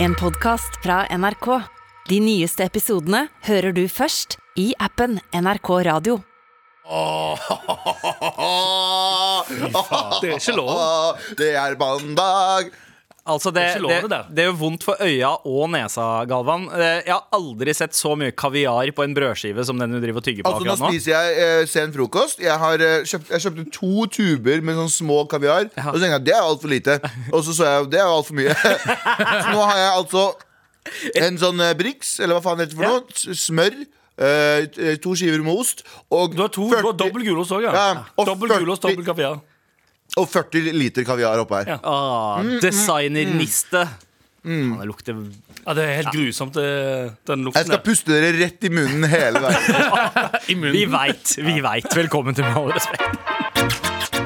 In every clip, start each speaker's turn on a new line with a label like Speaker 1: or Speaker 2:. Speaker 1: En podcast fra NRK. De nyeste episodene hører du først i appen NRK Radio.
Speaker 2: Det er ikke
Speaker 3: Ah,
Speaker 2: lov.
Speaker 3: Det er mandag!
Speaker 4: Altså det,
Speaker 2: Det er ikke lov
Speaker 4: det,
Speaker 2: med
Speaker 4: det,
Speaker 2: det.
Speaker 4: gjør vondt for øya og nesa, Galvan. Eh, Jeg har aldri sett så mye kaviar på en brødskive som den du driver og tygger på
Speaker 3: Altså Nå
Speaker 4: akkurat nå.
Speaker 3: spiser jeg eh, sen frokost. Jeg, har, eh, kjøpt, jeg kjøpte to tuber med sånn små kaviar. Og så tenkte jeg det er altfor lite. Og så så jeg det er altfor mye. så nå har jeg altså en sånn eh, Brix, eller hva faen det heter for
Speaker 2: Ja.
Speaker 3: noe. s- Smør. eh, t- to skiver med ost. Og
Speaker 2: Du har, to, du har
Speaker 3: 40
Speaker 2: dobbel gulost òg, ja.
Speaker 3: Ja, og
Speaker 2: Dobbel gulost,
Speaker 3: 40
Speaker 2: dobbel kaviar.
Speaker 3: og 40 liter kaviar oppe her.
Speaker 2: Ja.
Speaker 4: Ah, Designerniste. Faen, Det lukter
Speaker 2: Ja, det er helt grusomt, det, den
Speaker 3: Jeg
Speaker 2: lukten
Speaker 3: skal puste dere rett i munnen hele veien.
Speaker 2: der. I munnen.
Speaker 4: Vi veit, vi veit. Velkommen til Med all respekt.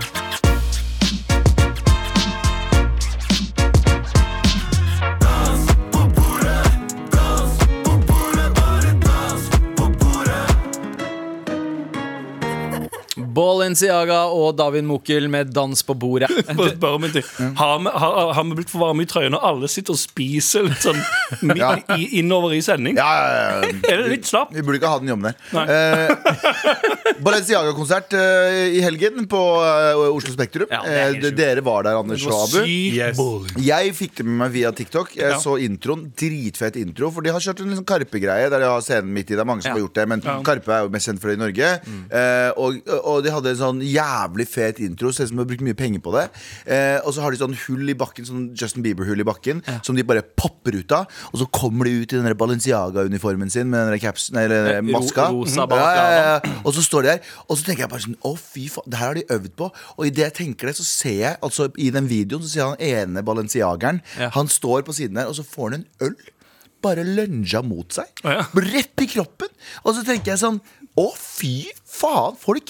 Speaker 4: Balenciaga og Davin Mokel med 'Dans på bordet'.
Speaker 2: Bare, bare om en ting.
Speaker 3: Mm.
Speaker 2: Har vi, har, har vi blitt for varme i trøya når alle sitter og spiser litt sånn mi-
Speaker 3: Ja.
Speaker 2: i, innover i sending?
Speaker 3: Ja, ja, ja.
Speaker 2: Er det litt slapp?
Speaker 3: Vi burde ikke ha den jobben der.
Speaker 2: Nei.
Speaker 3: Eh, Balenciaga-konsert eh, i helgen på eh, Oslo Spektrum.
Speaker 4: Ja, det er helt
Speaker 3: Eh, d- dere var der, Anders
Speaker 2: Det
Speaker 3: og
Speaker 2: var
Speaker 3: Abu.
Speaker 2: sykt boring.
Speaker 3: Jeg fikk det med meg via TikTok. Jeg
Speaker 2: Ja.
Speaker 3: så introen. Dritfett intro. For de har kjørt en liksom Karpe-greie. Der de har scenen midt i Det er mange som
Speaker 4: Ja. Mm.
Speaker 3: har gjort det, men
Speaker 2: Ja.
Speaker 3: Karpe er jo mest kjent for det i Norge. Eh, og, og de hadde en sånn jævlig fet intro. Ser ut som de har brukt mye penger på det. Eh, og så har de sånn hull i bakken, sånn Justin Bieber-hull i bakken, som de bare popper ut av. Og så kommer de ut i den der Balenciaga-uniformen sin med den der capsen, eller
Speaker 4: Eh, ro-
Speaker 3: maska. Mm.
Speaker 4: rosa
Speaker 3: ja, ja,
Speaker 4: balenciaga.
Speaker 3: ja, ja. Eh, Og så står de der, og så tenker jeg bare sånn Å, fy faen, det her har de øvd på. Og idet jeg tenker det, så ser jeg Altså, i den videoen så ser jeg han ene balenciageren.
Speaker 4: Ja.
Speaker 3: Han står på siden der, og så får han en øl. Bare lunsja mot seg.
Speaker 2: Ja.
Speaker 3: Rett i kroppen. Og så tenker jeg sånn Å, fy faen, folk.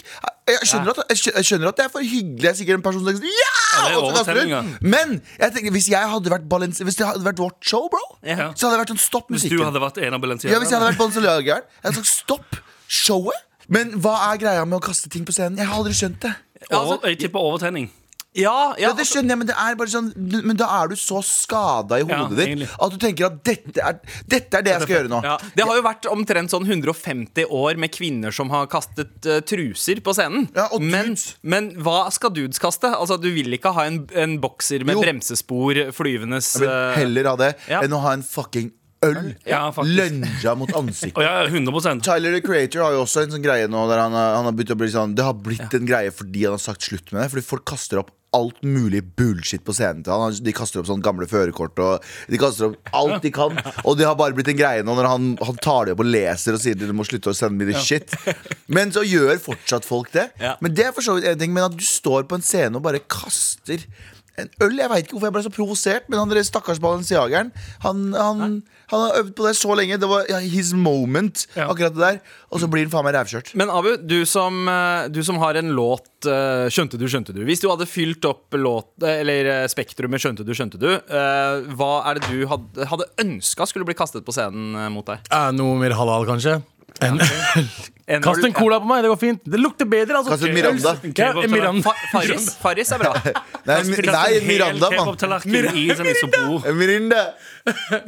Speaker 3: Jeg skjønner, at, jeg skjø- jeg skjønner at det er for hyggelig. Jeg er sikkert en person som tenker sånn Ja!
Speaker 2: Ja, det er
Speaker 3: Og så kaster
Speaker 2: overtenning,
Speaker 3: hun. Men jeg tenker, hvis, jeg hadde vært Balenci- hvis det hadde vært vårt show, bro,
Speaker 4: Ja.
Speaker 3: så hadde det vært sånn Stopp
Speaker 2: Hvis
Speaker 3: musikken.
Speaker 2: du hadde vært en av
Speaker 3: Ja, hvis jeg
Speaker 2: Balenciaga.
Speaker 3: hadde vært balenciageren. Jeg hadde sagt stopp showet. Men hva er greia med å kaste ting på scenen? Jeg har aldri skjønt det.
Speaker 2: Over, Altså, jeg tipper overtenning.
Speaker 4: altså, Ja, altså, ja,
Speaker 3: Ja, det skjønner jeg, men det er bare sånn Men da er du så skada i
Speaker 2: Ja,
Speaker 3: hodet ditt
Speaker 2: egentlig.
Speaker 3: at du tenker at dette er, dette er det jeg skal gjøre nå.
Speaker 4: Ja, det har jo vært omtrent sånn 150 år med kvinner som har kastet eh, truser på scenen.
Speaker 3: Ja, og
Speaker 4: men,
Speaker 3: dudes.
Speaker 4: men hva skal dudes kaste? Altså, Du vil ikke ha en, en bokser med
Speaker 3: Jo.
Speaker 4: bremsespor flyvendes
Speaker 3: Jeg vil
Speaker 4: eh,
Speaker 3: heller ha det
Speaker 4: ja.
Speaker 3: enn å ha en fucking øl
Speaker 2: Ja, faktisk.
Speaker 3: lønja mot ansiktet.
Speaker 2: Å ja, 100
Speaker 3: Tyler the Creator har jo også en sånn greie nå der han, har- han har begynt å bli sånn Det har blitt en greie fordi han har sagt slutt med det. Fordi folk kaster opp alt mulig bullshit på scenen til han. Han- De kaster opp sånn gamle førerkort og De kaster opp alt de kan. Og det har bare blitt en greie nå når han, han tar det opp og leser og sier du må slutte å sende meg this shit. Men så gjør fortsatt folk det.
Speaker 4: Ja.
Speaker 3: Men det er for så vidt en ting. Men at du står på en scene og bare kaster en øl, Jeg veit ikke hvorfor jeg ble så provosert, men han der stakkars balenciageren han, han, han har øvd på det så lenge. Det var ja, his moment.
Speaker 2: Ja.
Speaker 3: Akkurat det der Og så blir han faen meg rævkjørt.
Speaker 4: Men Abu, du som, eh, du som har en låt eh, Skjønte du, skjønte du. Hvis du hadde fylt opp låt, eh, eller eh, spektrumet Skjønte du, skjønte du, eh, hva er det du hadde, hadde ønska skulle bli kastet på scenen eh, mot deg?
Speaker 5: Eh, noe mer halal, kanskje. En,
Speaker 4: En-
Speaker 5: Kast en cola på meg, det går fint. Det lukter bedre. Altså.
Speaker 3: Kast en Miranda.
Speaker 5: Ja, en Miranda.
Speaker 4: Fa Farris, Farris er bra.
Speaker 3: Nei, mi, nei
Speaker 2: En hel
Speaker 3: Miranda, mann.
Speaker 2: kebabtallerken i sånn isopor.
Speaker 3: Miranda!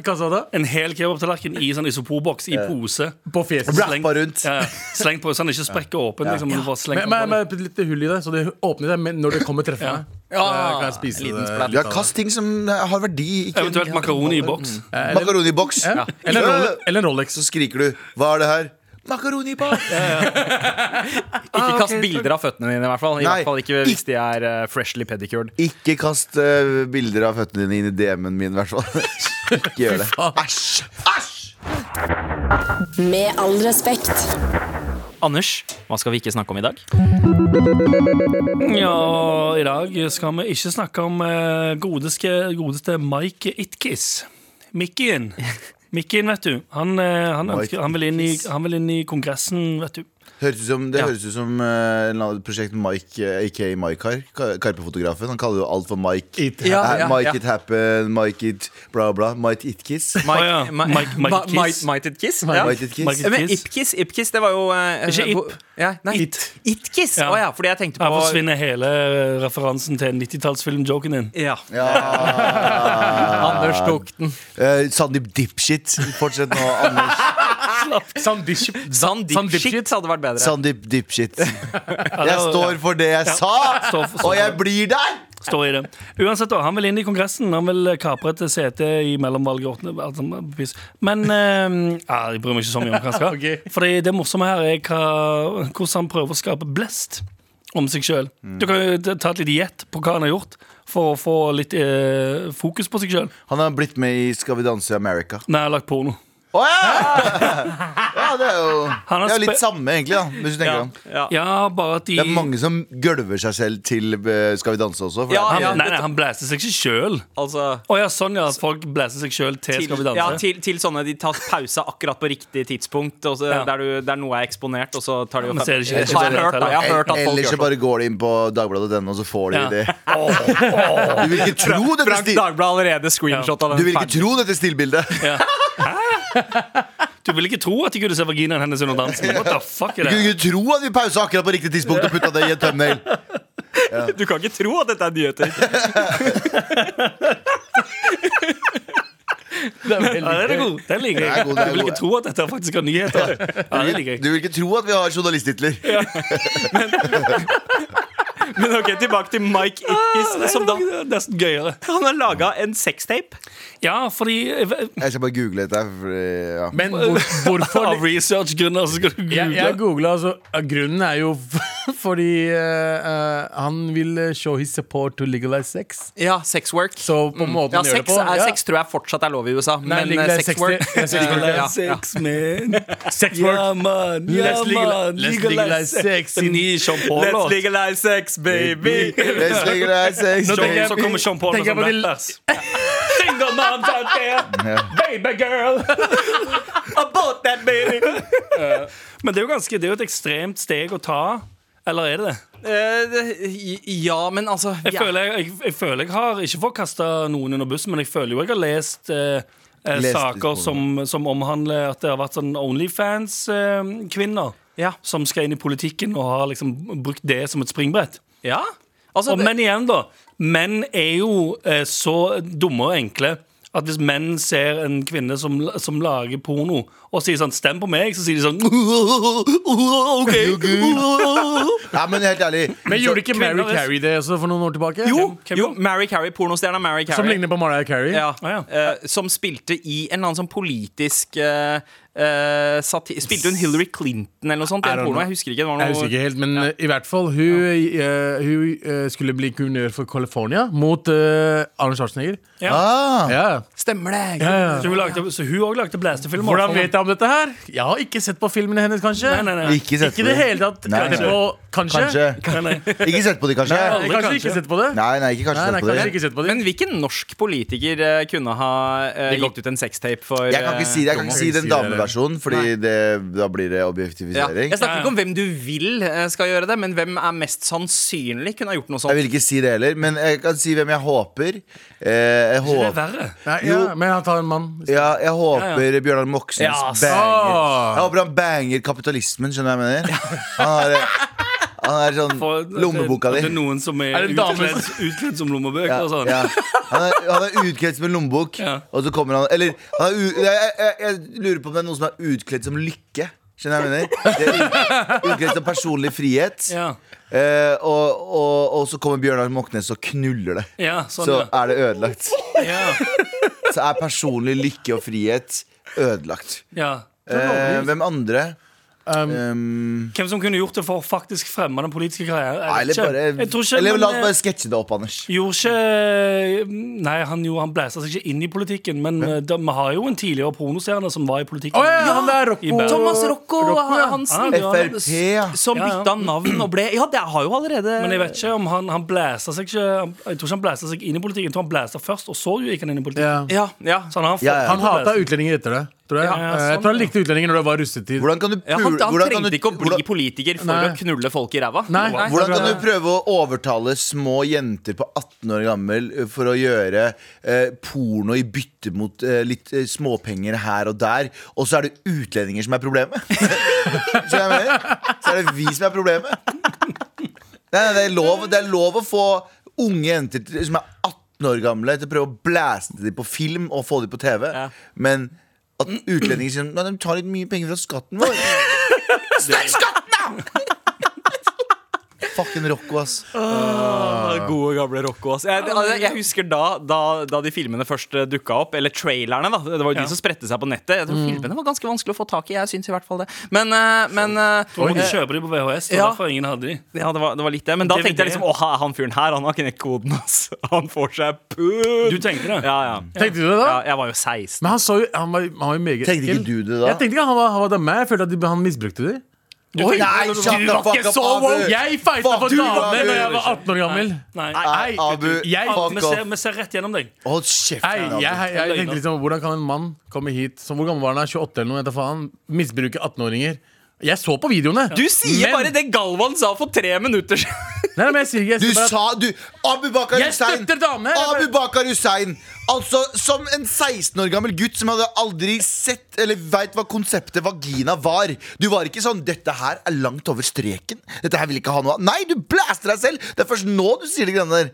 Speaker 5: Hva sa du?
Speaker 2: En hel kebabtallerken i sånn isoporboks i pose.
Speaker 5: På fjeset.
Speaker 3: Rappa rundt.
Speaker 2: Ja, ja. Sleng på så den ikke sprekker åpen. Liksom, men du bare slenger
Speaker 5: Med, med,
Speaker 2: på den.
Speaker 5: med et lite hull i det, så det åpner seg men når det kommer treffer meg.
Speaker 4: Ja,
Speaker 5: Så kan jeg spise
Speaker 4: liten
Speaker 5: det
Speaker 4: splatt.
Speaker 5: litt
Speaker 3: Ja,
Speaker 5: av det.
Speaker 3: kast ting som har verdi. Ikke
Speaker 2: Eventuelt makaroni i boks.
Speaker 5: Eh, eller-
Speaker 3: makaroni i boks.
Speaker 5: Ja. Eller, en Rolex, eller en Rolex.
Speaker 3: Så skriker du 'hva er det her'? Makaroni i boks!
Speaker 4: Ikke kast bilder av føttene dine, i hvert
Speaker 3: Ah,
Speaker 4: fall. I
Speaker 3: Nei.
Speaker 4: hvert fall ikke hvis de er eh, freshly pedicured.
Speaker 3: Ikke kast eh, bilder av føttene dine inn i DM-en min, i hvert fall. ikke gjør det. Æsj! Æsj!
Speaker 1: Med all respekt.
Speaker 4: Anders, hva skal vi ikke snakke om i dag?
Speaker 2: Ja, i dag skal vi ikke snakke om eh, godeske, godeste Mike Itkiss. Mikkien. Mikkien, vet du. Han, eh, han,
Speaker 3: Mike
Speaker 2: ønsker, han, vil inn i, han vil inn i Kongressen, vet du.
Speaker 3: Høres ut som, det
Speaker 4: Ja.
Speaker 3: høres ut som eh, en eller annen prosjekt Mike, eh, aka Mike har. Ka- Karpe-fotografen. Han kaller jo alt for Mike.
Speaker 5: It
Speaker 3: Eh,
Speaker 4: Ja, ja,
Speaker 3: Mike
Speaker 4: ja.
Speaker 3: it happen, Mike it bla bla. Mike it kiss.
Speaker 4: Mike,
Speaker 2: Å, ja.
Speaker 4: Ma-
Speaker 2: Mike- Mike
Speaker 4: Ma-
Speaker 2: Kiss.
Speaker 4: Mike- Mike It Kiss. Ja.
Speaker 3: Mike it kiss.
Speaker 2: Mike-
Speaker 4: Men
Speaker 2: Kiss.
Speaker 4: Ipkiss, Ipkiss, det var jo eh,
Speaker 2: Ikke Ip.
Speaker 4: hvor- Ja, nei,
Speaker 2: It.
Speaker 4: It-Kiss. Å
Speaker 2: Ja.
Speaker 4: ja. fordi jeg tenkte på
Speaker 2: Her forsvinner hele eh, referansen til 90-tallsfilm-joken din.
Speaker 4: Ja.
Speaker 3: Ja.
Speaker 4: Anders tok den.
Speaker 3: Eh, Sandeep Dipshit. Fortsett nå, Anders.
Speaker 4: Ah!
Speaker 5: Sandiship. Sandeep
Speaker 4: Sandeep Shit
Speaker 5: Shit
Speaker 4: hadde vært bedre.
Speaker 3: Sandeep Dipshit. Jeg
Speaker 2: var-
Speaker 3: står for det jeg sa,
Speaker 2: Står for-
Speaker 3: og jeg blir der!
Speaker 2: Står i det. Uansett, da, han vil inn i Kongressen. Han vil eh, kapre et sete i mellomvalget. åttende- alt sånt piss. Men eh, ja, jeg bryr meg ikke så mye om hva han skal.
Speaker 5: Ok.
Speaker 2: Fordi det morsomme her er hva, hvordan han prøver å skape blest om seg sjøl.
Speaker 4: Mm.
Speaker 2: Du kan jo ta et lite gjett på hva han har gjort for å få litt eh, fokus på seg sjøl.
Speaker 3: Han har blitt med i Skal vi danse i America.
Speaker 2: Nei, jeg har lagt porno.
Speaker 3: Å ja! ja! Det er jo
Speaker 2: Han har
Speaker 3: det er jo litt
Speaker 2: spe-
Speaker 3: samme, egentlig. da Hvis du tenker om
Speaker 4: Ja.
Speaker 2: Ja, bare at de
Speaker 3: Det er mange som gølver seg selv til eh, Skal vi danse også. For
Speaker 4: Ja,
Speaker 2: han,
Speaker 3: det er-
Speaker 2: Nei, nei, han blæser seg ikke sjøl.
Speaker 4: Altså
Speaker 2: Å ja, sånn ja. at Folk blæser seg sjøl til,
Speaker 4: til,
Speaker 2: Skal vi danse.
Speaker 4: ja, til, til sånne de tar pause akkurat på riktig tidspunkt. Og så,
Speaker 2: Ja.
Speaker 4: der, du, der noe er eksponert, og så tar de jo
Speaker 2: Men så er det ikke-
Speaker 4: Jeg har hørt, da. Jeg har hørt at folk
Speaker 3: Ellers så
Speaker 4: gjør sånn.
Speaker 3: bare går de inn på dagbladet.no, og så får de
Speaker 2: Ja.
Speaker 3: det. Du vil ikke tro dette,
Speaker 4: Frank
Speaker 3: stil
Speaker 4: Dagbladet har allerede screenshot
Speaker 3: du
Speaker 4: av den.
Speaker 3: vil ikke
Speaker 4: ferdig.
Speaker 3: tro dette stilbildet!
Speaker 2: Du vil ikke tro at de kunne se vaginaen hennes under dansen. What the fuck
Speaker 3: Du
Speaker 2: er det?
Speaker 3: kunne ikke tro at vi pausa akkurat på riktig tidspunkt og putta det i en thumbnail.
Speaker 4: Du kan ikke tro at dette er nyheter.
Speaker 5: Det er
Speaker 2: Ja, den er
Speaker 5: veldig
Speaker 2: god. Den liker
Speaker 3: Den er
Speaker 2: jeg.
Speaker 3: god, den er
Speaker 2: Du vil ikke
Speaker 3: god.
Speaker 2: tro at dette faktisk er nyheter. Ja, det liker jeg.
Speaker 3: Du vil ikke tro at vi har journalisttitler.
Speaker 4: Men ok, tilbake til Mike Itkis, som da
Speaker 2: Det Ah, er nesten gøyere.
Speaker 4: Han har laga en sextape.
Speaker 2: Ja, fordi eh,
Speaker 3: Jeg skal bare google dette. her, For, eh, ja.
Speaker 5: Men hvor, hvorfor
Speaker 2: Av researchgrunner så skal du
Speaker 5: Jeg, jeg
Speaker 2: google.
Speaker 5: googla, altså. eh, Grunnen er jo fordi eh, eh, han vil eh, show his support to legalize sex.
Speaker 4: Ja, sexwork.
Speaker 5: Så på måten
Speaker 4: Ja,
Speaker 5: han gjør
Speaker 4: sex,
Speaker 5: det på
Speaker 4: er,
Speaker 5: Mm. ja.
Speaker 4: sex tror jeg fortsatt er lov i USA,
Speaker 5: Nei,
Speaker 4: men eh,
Speaker 5: legalize sex-
Speaker 4: sexwork
Speaker 5: ja, sexwork,
Speaker 4: Ja, ja.
Speaker 2: Sex, man.
Speaker 5: Sex work.
Speaker 2: Ja, man. Ja,
Speaker 5: Let's legalize-
Speaker 2: man.
Speaker 5: let's legalize sex
Speaker 2: En
Speaker 5: in-
Speaker 2: ny Sean Paul-låt.
Speaker 4: legalize sex, baby!
Speaker 3: Jeg slenger deg, sex,
Speaker 2: Nå tenker jeg- Så
Speaker 3: baby.
Speaker 2: kommer Sean Paul med
Speaker 5: Tenker jeg
Speaker 2: sånn
Speaker 5: på de-
Speaker 2: rappers. Single moms out there, baby girl.
Speaker 4: About that, baby!
Speaker 2: Eh, Men det er jo ganske, det er jo et ekstremt steg å ta. Eller er det det?
Speaker 4: Eh, det- ja, men altså
Speaker 2: Jeg,
Speaker 4: ja.
Speaker 2: føler, jeg, jeg, jeg føler jeg har ikke fått kasta noen under bussen, men jeg føler jo jeg har lest eh, eh,
Speaker 3: Lest
Speaker 2: saker
Speaker 3: litt på
Speaker 2: som, som omhandler at det har vært sånn Onlyfans-kvinner
Speaker 4: Ja.
Speaker 2: som skal inn i politikken og har liksom brukt det som et springbrett.
Speaker 4: ja. Altså,
Speaker 2: Og
Speaker 4: det-
Speaker 2: menn igjen, da. Menn er jo eh, så dumme og enkle at hvis menn ser en kvinne som, som lager porno, og sier sånn 'stem på meg', så sier de sånn OK.
Speaker 3: Nei, men helt ærlig.
Speaker 5: Men gjorde ikke Mary
Speaker 2: Kvinner er-
Speaker 5: Carey det også for noen år tilbake?
Speaker 4: jo,
Speaker 2: hvem-
Speaker 4: jo, Mary Carey, pornostjerna Mary Carey.
Speaker 5: Som ligner på Mariah Carey?
Speaker 4: ja.
Speaker 2: Ah,
Speaker 4: eh, som spilte i en eller annen sånn politisk eh, eh, sati Spilte hun Hillary Clinton eller noe sånt? i
Speaker 5: I
Speaker 4: en
Speaker 5: don't
Speaker 4: porno?
Speaker 5: know.
Speaker 4: Jeg husker ikke. Det var noe
Speaker 5: Jeg husker ikke helt, men eh, i hvert fall Hun, eh, hun eh, skulle bli guvernør for California mot eh, Arne Schwarzenegger.
Speaker 3: Ah,
Speaker 5: Ja.
Speaker 4: Stemmer det!
Speaker 5: Ja, ja.
Speaker 2: Så hun lagde- så hun òg lagde blæstefilmer.
Speaker 5: Hvordan vet jeg om dette her? Jeg har ikke sett på filmene hennes, kanskje.
Speaker 2: Nei, nei, nei.
Speaker 3: Ikke sett
Speaker 5: Ikke
Speaker 3: på
Speaker 5: i det
Speaker 3: det.
Speaker 5: hele tatt.
Speaker 3: Nei.
Speaker 5: Kanskje. på- kanskje.
Speaker 3: Kanskje.
Speaker 2: Nei, nei.
Speaker 3: Ikke sett på de, kanskje?
Speaker 5: Nei,
Speaker 2: Alle
Speaker 5: kanskje,
Speaker 2: kanskje.
Speaker 5: ikke sett på det?
Speaker 3: Nei, nei, ikke
Speaker 5: Nei,
Speaker 3: kanskje
Speaker 5: nei,
Speaker 3: sett på
Speaker 5: kanskje
Speaker 3: det.
Speaker 5: ikke sett på det.
Speaker 4: Men hvilken norsk politiker eh, kunne ha eh,
Speaker 5: Det går-
Speaker 4: gitt ut en sextape for
Speaker 3: Jeg kan ikke si det, jeg kan ikke si den dameversjonen, Fordi det, da blir det
Speaker 4: eh, Ja.
Speaker 3: objektivisering.
Speaker 4: Jeg snakker ikke om hvem du vil eh, skal gjøre det, men hvem er mest sannsynlig kunne ha gjort noe
Speaker 3: Jeg
Speaker 4: sånt.
Speaker 3: vil ikke si det heller, men jeg kan si hvem jeg håper. Eh, jeg
Speaker 2: Det er
Speaker 3: håper
Speaker 2: verre.
Speaker 5: Nei, ja, men han tar en mann.
Speaker 3: ja, jeg håper Bjørnar Moxnes
Speaker 4: Ja, ass.
Speaker 3: banger
Speaker 5: Åh.
Speaker 3: Jeg håper han banger kapitalismen, skjønner du hva jeg mener? Han er, han er
Speaker 2: For at
Speaker 3: sånn
Speaker 2: det-
Speaker 3: lommeboka
Speaker 2: at
Speaker 3: di.
Speaker 2: Det er noen som er,
Speaker 5: Er det en dame
Speaker 2: utkledd, utkledd som lommebøker
Speaker 3: Ja,
Speaker 2: og sånn.
Speaker 3: ja. Han er, han er utkledd som en lommebok,
Speaker 2: Ja.
Speaker 3: og så kommer han Eller han er u, jeg, jeg, jeg lurer på om det er noen som er utkledd som lykke. Skjønner du hva jeg mener? Det er ut- utkledd som personlig frihet.
Speaker 2: Ja.
Speaker 3: Eh, og, og, og så kommer Bjørnar Moxnes og knuller det.
Speaker 2: Ja, sånn,
Speaker 3: så
Speaker 2: ja.
Speaker 3: er det ødelagt.
Speaker 2: ja.
Speaker 3: Så er personlig lykke og frihet ødelagt.
Speaker 2: ja.
Speaker 3: Eh, hvem andre?
Speaker 5: Um,
Speaker 3: Um,
Speaker 2: Hvem som kunne gjort det for å faktisk fremme den politiske karrieren?
Speaker 3: nei,
Speaker 2: Jeg
Speaker 3: eller
Speaker 2: vet ikke.
Speaker 3: bare,
Speaker 2: Jeg tror ikke
Speaker 3: eller
Speaker 2: men,
Speaker 3: la oss
Speaker 2: eh,
Speaker 3: bare sketsje det opp, Anders.
Speaker 2: Gjorde ikke Nei, han, jo, han blæsa seg ikke inn i politikken, men eh, da- vi har jo en tidligere pornostjerne som var i politikken.
Speaker 5: Å ja, han der
Speaker 2: I
Speaker 5: Rocco.
Speaker 2: Bergen.
Speaker 4: Thomas Rocco,
Speaker 5: Rocco, ja.
Speaker 2: Ah,
Speaker 4: Hansen,
Speaker 2: det var-
Speaker 3: Frp, ja.
Speaker 4: som
Speaker 2: Ja, ja.
Speaker 4: bytta navn og ble Ja, det har jo allerede
Speaker 2: Men jeg vet ikke om han, han blæsa seg ikke han- Jeg tror ikke han blæsa seg inn i politikken. Jeg tror han blæsa først, og så gikk han inn i politikken.
Speaker 5: Ja.
Speaker 4: Ja, ja.
Speaker 2: Så han har fått-
Speaker 3: Ja, ja.
Speaker 5: Han hata utlendinger etter det. Tror jeg.
Speaker 4: Ja, ja,
Speaker 5: Eh, jeg
Speaker 4: sånn,
Speaker 5: tror han
Speaker 4: ja.
Speaker 5: likte utlendinger når det var russetid.
Speaker 3: Hvordan kan du
Speaker 4: Ja, han,
Speaker 3: pule-
Speaker 4: han
Speaker 3: hvordan kan
Speaker 4: trengte
Speaker 3: du-
Speaker 4: ikke å bli
Speaker 3: hvordan-
Speaker 4: politiker for
Speaker 5: Nei.
Speaker 4: å knulle folk i ræva.
Speaker 5: Nei.
Speaker 4: Wow.
Speaker 3: Hvordan kan du
Speaker 5: Ja.
Speaker 3: prøve å overtale små jenter på 18 år gammel eh, for å gjøre eh, porno i bytte mot eh, litt eh, småpenger her og der, og så er det utlendinger som er problemet? så, jeg mener, så er det vi som er problemet. Nei, nei, det, er lov, det er lov å få unge jenter til, som er 18 år gamle, til å prøve å blæste dem på film og få dem på TV,
Speaker 4: Ja.
Speaker 3: men at utlendinger sier Nei, de tar litt mye penger fra skatten vår. Snakk skatten, da! Fucking Rocco, ass.
Speaker 4: Ah, Gode, gamle Rocco. ass. Jeg, jeg, jeg husker da, da, da de filmene først dukka opp, eller trailerne, da. Det var jo
Speaker 2: Ja.
Speaker 4: de som spredte seg på nettet. Jeg tror
Speaker 3: Mm.
Speaker 4: Filmene var ganske vanskelig å få tak i. Jeg syns i hvert fall det. Men, eh, men eh,
Speaker 2: Du måtte
Speaker 4: eh,
Speaker 2: kjøpe de på VHS. Det var
Speaker 4: ja.
Speaker 2: derfor ingen hadde de.
Speaker 4: ja, det, var, det var litt det. Men da
Speaker 2: DVD.
Speaker 4: tenkte jeg liksom åh, han fyren her, han har knekt koden, ass. Han får seg pun.
Speaker 2: Du tenkte det?
Speaker 4: Ja, ja.
Speaker 5: Tenkte du det da?
Speaker 4: ja, jeg var jo 16.
Speaker 5: Men han, så jo, han, var, han var jo meget
Speaker 3: Tenkte ikke
Speaker 5: ekkel.
Speaker 3: du det da?
Speaker 5: Jeg tenkte ikke han var, han var da meg. Jeg følte at de, han misbrukte det. Oi,
Speaker 3: Nei, shut the
Speaker 5: var
Speaker 3: fuck
Speaker 5: ikke
Speaker 3: up,
Speaker 5: så
Speaker 3: Abu.
Speaker 5: woke! Jeg fighta
Speaker 3: Fuck
Speaker 5: for
Speaker 3: du,
Speaker 5: damer
Speaker 3: Abu.
Speaker 5: da jeg var 18 år gammel.
Speaker 2: Nei.
Speaker 3: Nei,
Speaker 5: Nei,
Speaker 3: Abu,
Speaker 5: jeg-
Speaker 2: Vi
Speaker 3: fuck
Speaker 2: ser,
Speaker 3: off.
Speaker 2: vi ser rett gjennom deg.
Speaker 3: Hold kjeften,
Speaker 5: Nei,
Speaker 3: Abu.
Speaker 5: jeg, jeg, jeg tenkte liksom, Hvordan kan en mann komme hit som Hvor gammel var han? da? 28 eller noe? jeg vet da faen Misbruke 18-åringer. Jeg så på videoene.
Speaker 4: Du sier
Speaker 5: Men-
Speaker 4: bare det Galvan sa for tre minutter siden.
Speaker 5: Nei, nei, men jeg sier ikke jeg
Speaker 3: Du
Speaker 5: sier bare at-
Speaker 3: sa du Abu Bakar
Speaker 5: Jeg
Speaker 3: Hussein!
Speaker 5: støtter damene, jeg bare-
Speaker 3: Abu Bakar Hussein! Altså, som en 16 år gammel gutt som hadde aldri sett eller veit hva konseptet vagina var. Du var ikke sånn 'Dette her er langt over streken'. Dette her vil ikke ha noe av Nei, du blaster deg selv! Det er først nå du sier de greiene der.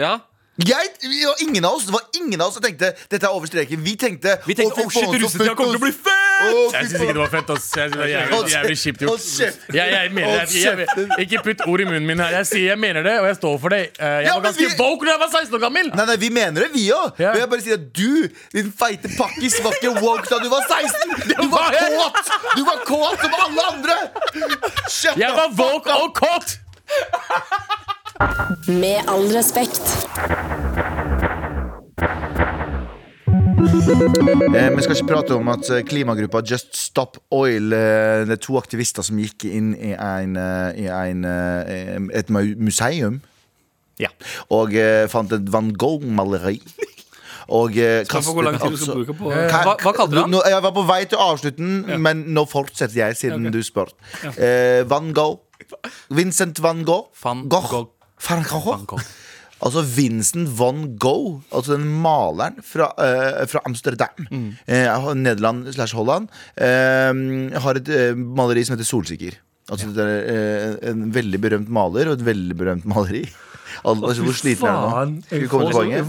Speaker 4: Ja.
Speaker 3: Jeg, vi var ingen av oss, Det var ingen av oss som tenkte 'dette er over streken'. Vi tenkte
Speaker 4: Vi tenkte
Speaker 3: fy
Speaker 4: åh, shit,
Speaker 3: faen, så
Speaker 4: russetida
Speaker 3: fett,
Speaker 4: kommer til å bli
Speaker 3: ass.
Speaker 4: fett!
Speaker 3: Å, fy
Speaker 5: Jeg syns ikke det
Speaker 3: faen.
Speaker 5: var fett. ass Jeg synes det er jævlig, jævlig kjipt
Speaker 3: Hold
Speaker 5: gjort.
Speaker 3: kjeft.
Speaker 5: Jeg, jeg mener det. Jeg, jeg, ikke putt ord i munnen min her. Jeg sier jeg mener det, og jeg står for det. Eh, Jeg
Speaker 3: Ja,
Speaker 5: var
Speaker 3: men
Speaker 5: ganske
Speaker 3: vi-
Speaker 5: woke da jeg var 16 år gammel.
Speaker 3: Nei, nei, vi mener det, vi òg.
Speaker 5: Ja.
Speaker 3: Men jeg bare sier at du, din feite pakkis, var ikke woke da du var 16. Du
Speaker 5: var
Speaker 3: var
Speaker 5: jeg.
Speaker 3: kåt! Du var kåt som alle andre! Shut
Speaker 5: Jeg
Speaker 3: the
Speaker 5: var woke og kåt!
Speaker 6: Med all respekt.
Speaker 3: Eh, Vi skal ikke prate om at eh, klimagruppa Just Stop Oil eh, Det er to aktivister som gikk inn i, en, eh, i en, eh, et mu- museum
Speaker 4: Ja.
Speaker 3: og eh, fant et Van Gogh-maleri. Og eh,
Speaker 2: Kan få hvor lang tid du skal bruke på
Speaker 4: Hva- hva kalte du han?
Speaker 3: Nå- Jeg var på vei til å avslutte den, men nå fortsetter jeg, siden du spør. Eh, Van Gogh. Vincent van Gogh.
Speaker 4: Van Gogh.
Speaker 3: Van Gogh.
Speaker 4: Van Gogh.
Speaker 3: Altså Vincent van Gogh, altså den maleren fra, eh, fra Amsterdam, eh, Nederland slash Holland, eh, har et eh, maleri som heter Solsikker. Altså det er eh, en veldig berømt maler og et veldig berømt maleri. Al altså, hvor sliten er du nå? Skal vi komme til
Speaker 2: sånn, jeg
Speaker 3: poenget?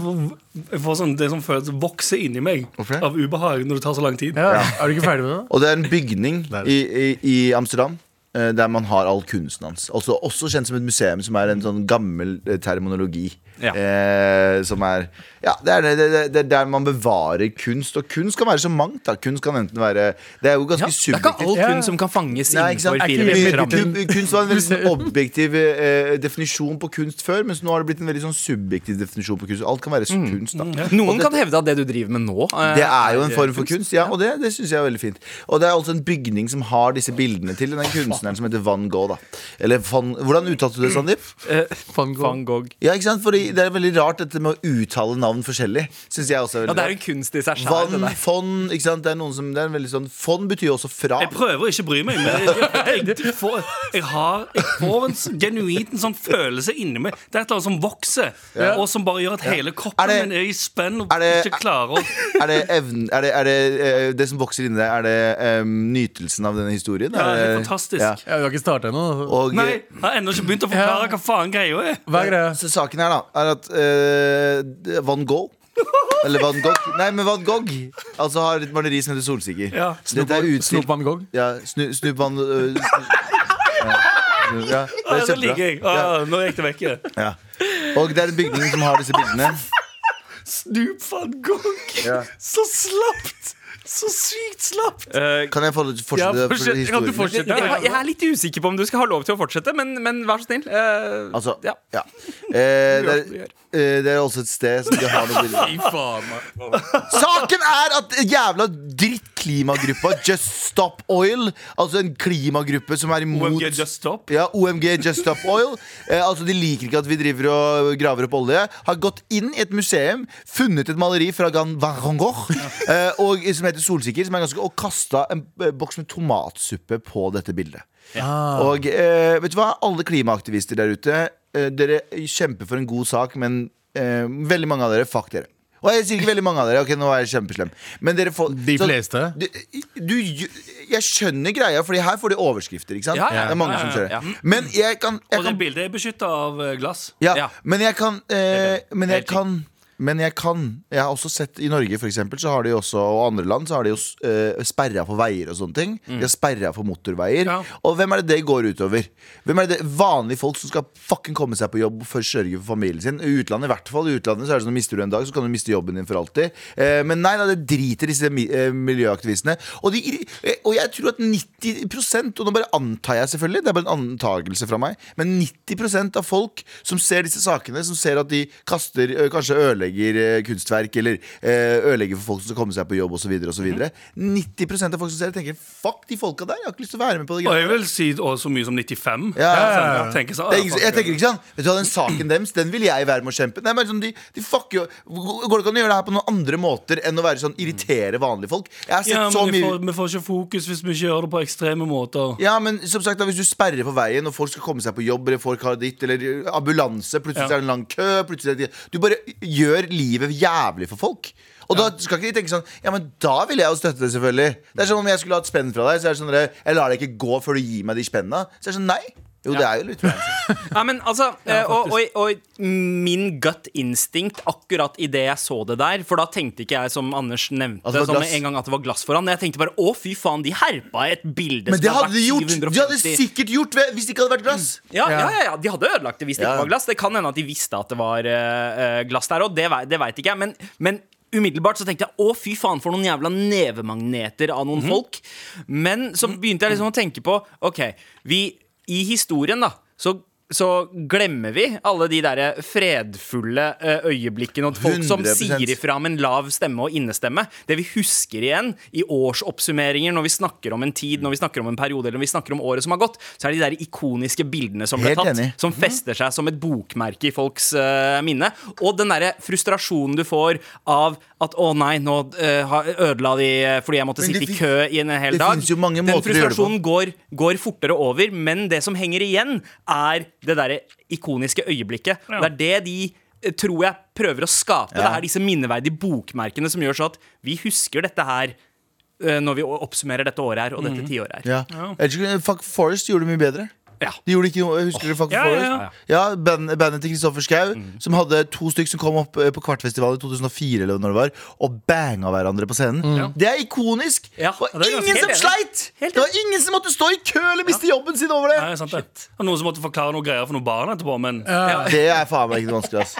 Speaker 2: får- jeg får sånn, det som føles vokse inni meg
Speaker 3: Hvorfor det?
Speaker 2: av ubehag når det tar så lang tid.
Speaker 5: Ja. Er du ikke ferdig med det?
Speaker 3: Og det er en bygning
Speaker 5: Det er
Speaker 3: i, i, i Amsterdam. eh, Der man har all kunsten hans. Også, også kjent som et museum, som er en sånn gammel eh, terminologi.
Speaker 4: Ja.
Speaker 3: Eh, som er Ja, det er, det, det, det er der man bevarer kunst. Og kunst kan være så mangt. da Kunst kan enten være Det er jo ganske
Speaker 4: Ja, det er ikke
Speaker 3: subjektivt.
Speaker 4: all kunst som kan fanges
Speaker 3: Nei, ikke sant?
Speaker 4: innenfor
Speaker 5: Er
Speaker 4: fire
Speaker 5: ikke
Speaker 4: meter
Speaker 5: mye-
Speaker 4: ramme.
Speaker 5: rammen.
Speaker 3: Kun- Kunst var en veldig sånn objektiv eh, definisjon på kunst før, mens nå har det blitt en veldig sånn subjektiv definisjon på kunst. Alt kan være kunst, da.
Speaker 4: Noen kan hevde at det du driver med nå eh,
Speaker 3: Det er jo en form for kunst, ja, og det, det syns jeg er veldig fint. Og det er også en bygning som har disse bildene til den kunstneren som heter Van Gogh. da Eller van, Hvordan uttalte du det, Sandeep?
Speaker 4: Van Gogh.
Speaker 3: Ja, ikke sant? Fordi Det er veldig rart dette med å uttale navn forskjellig. Synes jeg også er veldig
Speaker 4: Ja, det er jo
Speaker 3: rart.
Speaker 4: en kunst i seg sjøl.
Speaker 3: Van, von, ikke sant? Det er noen som, det er en veldig sånn Von betyr jo også fra.
Speaker 2: Jeg prøver å ikke bry meg, men jeg, jeg, jeg, får, jeg, har, jeg får en s- genuint en sånn følelse inni meg. Det er et eller annet som vokser, og som bare gjør at hele
Speaker 3: Er
Speaker 2: kroppen
Speaker 3: det-
Speaker 2: min er i spenn og
Speaker 3: er det-
Speaker 2: ikke klarer å
Speaker 3: Er det evnen Er det er det, eh, det som vokser inni deg, er det eh, nytelsen av denne historien?
Speaker 2: Ja, det er
Speaker 3: det-
Speaker 2: fantastisk.
Speaker 5: Ja, vi har ikke starta ennå.
Speaker 3: Og,
Speaker 2: Nei, jeg har ennå ikke begynt å forklare hva faen greia er.
Speaker 5: Hva er greia?
Speaker 3: Så saken her da er at eh, Van Gogh Eller Van Gogh Nei, men Van Gogh Altså har et maleri som heter Solsikker
Speaker 2: Ja.
Speaker 3: Dette er
Speaker 5: Snoop
Speaker 3: utstilt
Speaker 5: Van Gogh?
Speaker 3: ja, snu, Snoop Van øh, snu- ja. ja, det
Speaker 2: Ja,
Speaker 3: er
Speaker 2: det
Speaker 3: kjempebra
Speaker 2: liker jeg.
Speaker 3: ja,
Speaker 2: Ah, nå gikk det vekk.
Speaker 3: ja. Og det er en bygning som har disse bildene
Speaker 2: Snoop van Gogh.
Speaker 3: Ja.
Speaker 2: Så slapt! Så sykt slapt!
Speaker 3: Kan jeg få lov til å fortsette
Speaker 5: Ja, fortsett.
Speaker 3: fortsette
Speaker 5: Kan du
Speaker 3: historien?
Speaker 5: fortsette?
Speaker 4: Jeg, jeg er litt usikker på om du skal ha lov til å fortsette, men, men vær så snill. Eh,
Speaker 3: Altså,
Speaker 4: ja.
Speaker 3: ja, Eh, det,
Speaker 4: Du
Speaker 3: er,
Speaker 4: gjør.
Speaker 3: eh, det er også et sted som de har noen bilder
Speaker 5: Fy faen, man.
Speaker 3: Saken er at jævla dritt klimagruppa Just Stop Oil. Altså en klimagruppe som er imot
Speaker 2: OMG Just Stop?
Speaker 3: Ja, OMG Just Stop Oil. Eh, altså De liker ikke at vi driver og graver opp olje. Har gått inn i et museum, funnet et maleri fra Gan Van Gogh eh, og, som heter Solsikker, som er ganske, og kasta en eh, boks med tomatsuppe på dette bildet. Og eh, vet du hva? Alle klimaaktivister der ute, eh, dere kjemper for en god sak, men eh, veldig mange av dere, fuck dere. Og jeg sier ikke veldig mange av dere, ok, nå er jeg kjempeslem. Men dere får
Speaker 5: De fleste?
Speaker 3: du, du, jeg skjønner greia, Fordi her får de overskrifter. ikke sant?
Speaker 4: Ja, ja,
Speaker 3: det er mange
Speaker 4: ja, ja,
Speaker 3: som kjører
Speaker 4: ja.
Speaker 3: Men jeg kan, jeg
Speaker 2: Og det
Speaker 3: kan,
Speaker 2: bildet er beskytta av eh, glass.
Speaker 3: ja,
Speaker 4: ja.
Speaker 3: men jeg kan, eh,
Speaker 2: det.
Speaker 3: men jeg
Speaker 2: Helt
Speaker 3: kan men jeg kan Jeg har også sett i Norge for eksempel, så har de også, og andre land så har de jo eh, sperra for veier og sånne ting. De har sperra for motorveier.
Speaker 2: Ja.
Speaker 3: Og hvem er det det går utover? Hvem er det det- Vanlige folk som skal fucking komme seg på jobb og først sørge for familien sin. I utlandet i hvert fall. I utlandet så er det sånn, mister du en dag, så kan du miste jobben din for alltid. Eh, men nei, nei, det driter disse mi- eh, miljøaktivistene. Og, de, eh, og jeg tror at 90 og nå bare antar jeg selvfølgelig, det er bare en antakelse fra meg, men 90 av folk som ser disse sakene, som ser at de kaster, ø, kanskje ødelegger eh, kunstverk, eller eh, ødelegger for folk som skal komme seg på jobb, osv., osv. 90 av folk som ser det, tenker fuck de folka der, jeg har ikke lyst til å være med på det.
Speaker 2: Og
Speaker 3: greiene
Speaker 2: jeg vil si å, så mye som 95.
Speaker 3: Ja, ja, ja,
Speaker 2: Jeg tenker så,
Speaker 3: det er ikke, jeg tenker ikke sånn Vet du hva, Den saken deres den vil jeg være med å kjempe. Nei, men sånn, de, de fucker jo Går det ikke an å gjøre det her på noen andre måter enn å være sånn irritere vanlige folk? Jeg har sett
Speaker 2: ja,
Speaker 3: så
Speaker 2: men vi
Speaker 3: mye
Speaker 2: får, vi får ikke fokus hvis vi ikke gjør det på ekstreme måter.
Speaker 3: ja, men som sagt, da, Hvis du sperrer på veien, og folk skal komme seg på jobb, eller folk har ditt, eller eh, ambulanse Plutselig
Speaker 2: Ja.
Speaker 3: så er det en lang kø plutselig er det, Du bare gjør livet jævlig for folk. Og da skal ikke de tenke sånn Ja, men da vil jeg jo støtte det, selvfølgelig. Det er som om jeg skulle hatt spenn fra deg. Så er det sånn, dere, Jeg lar deg ikke gå før du gir meg de spenna. Så er det sånn, nei. Jo, det er jo litt
Speaker 4: Nei, men altså eh, og, og, og min gut instinct akkurat idet jeg så det der For da tenkte ikke jeg, som Anders nevnte,
Speaker 3: At Altså, det var
Speaker 4: som
Speaker 3: glass.
Speaker 4: en gang at det var glass foran. Jeg tenkte bare å, fy faen, de herpa et bilde
Speaker 3: Men det
Speaker 4: som har
Speaker 3: hadde Mm. de gjort!
Speaker 4: vært
Speaker 3: De hadde
Speaker 4: 750
Speaker 3: sikkert gjort ved- hvis det ikke hadde vært glass.
Speaker 4: ja, ja, ja, ja, de hadde ødelagt det hvis det
Speaker 3: Ja.
Speaker 4: ikke var glass. Det kan hende at de visste at det var eh, eh, glass der òg, det, vei- det veit ikke jeg. Men, men umiddelbart så tenkte jeg å, fy faen, for noen jævla nevemagneter av noen folk. Men så begynte jeg liksom å tenke på OK, vi i historien, da, så så glemmer vi alle de der fredfulle eh, øyeblikkene og folk som
Speaker 3: 100%
Speaker 4: sier ifra med en lav stemme og innestemme. Det vi husker igjen i årsoppsummeringer når vi snakker om en tid, når vi snakker om en periode eller når vi snakker om året som har gått, så er det de der ikoniske bildene som ble
Speaker 3: Helt
Speaker 4: tatt,
Speaker 3: enig.
Speaker 4: som fester seg som et bokmerke i folks eh, minne. Og den derre frustrasjonen du får av at å nei, nå eh, har- ødela de eh, fordi jeg måtte
Speaker 3: Men det
Speaker 4: sitte i
Speaker 3: fin-
Speaker 4: kø i en hel
Speaker 3: det
Speaker 4: dag.
Speaker 3: finnes jo mange
Speaker 4: den
Speaker 3: måter å gjøre det på.
Speaker 4: frustrasjonen går, går fortere over, men det som henger igjen, er det derre ikoniske øyeblikket. Det er det de eh, tror jeg prøver å skape. Det er disse minneverdige bokmerkene som gjør sånn at vi husker dette her eh, når vi oppsummerer dette året her og dette tiåret her.
Speaker 3: Ja. Ellers kunne- Fuck Forest gjorde det mye bedre.
Speaker 4: Ja.
Speaker 3: De gjorde ikke noe, Husker dere Fuck
Speaker 2: Ja, ja,
Speaker 3: Forest?
Speaker 2: ja.
Speaker 3: Ja, band, Bandet til Kristoffer Schau, som hadde to stykk som kom opp eh, på Kvartfestivalen i 2004, eller når det var og banga hverandre på scenen. Det er ikonisk!
Speaker 4: Ja,
Speaker 3: det var
Speaker 4: det er ganske-
Speaker 3: ingen som
Speaker 4: helt enig.
Speaker 3: sleit!
Speaker 4: Helt
Speaker 3: Det var ingen som måtte stå i kø eller miste jobben sin over det!
Speaker 2: Nei, sant det. Det var Noen som måtte forklare noen greier for noen barn etterpå, men
Speaker 3: Det er faen meg ikke noe vanskelig. ass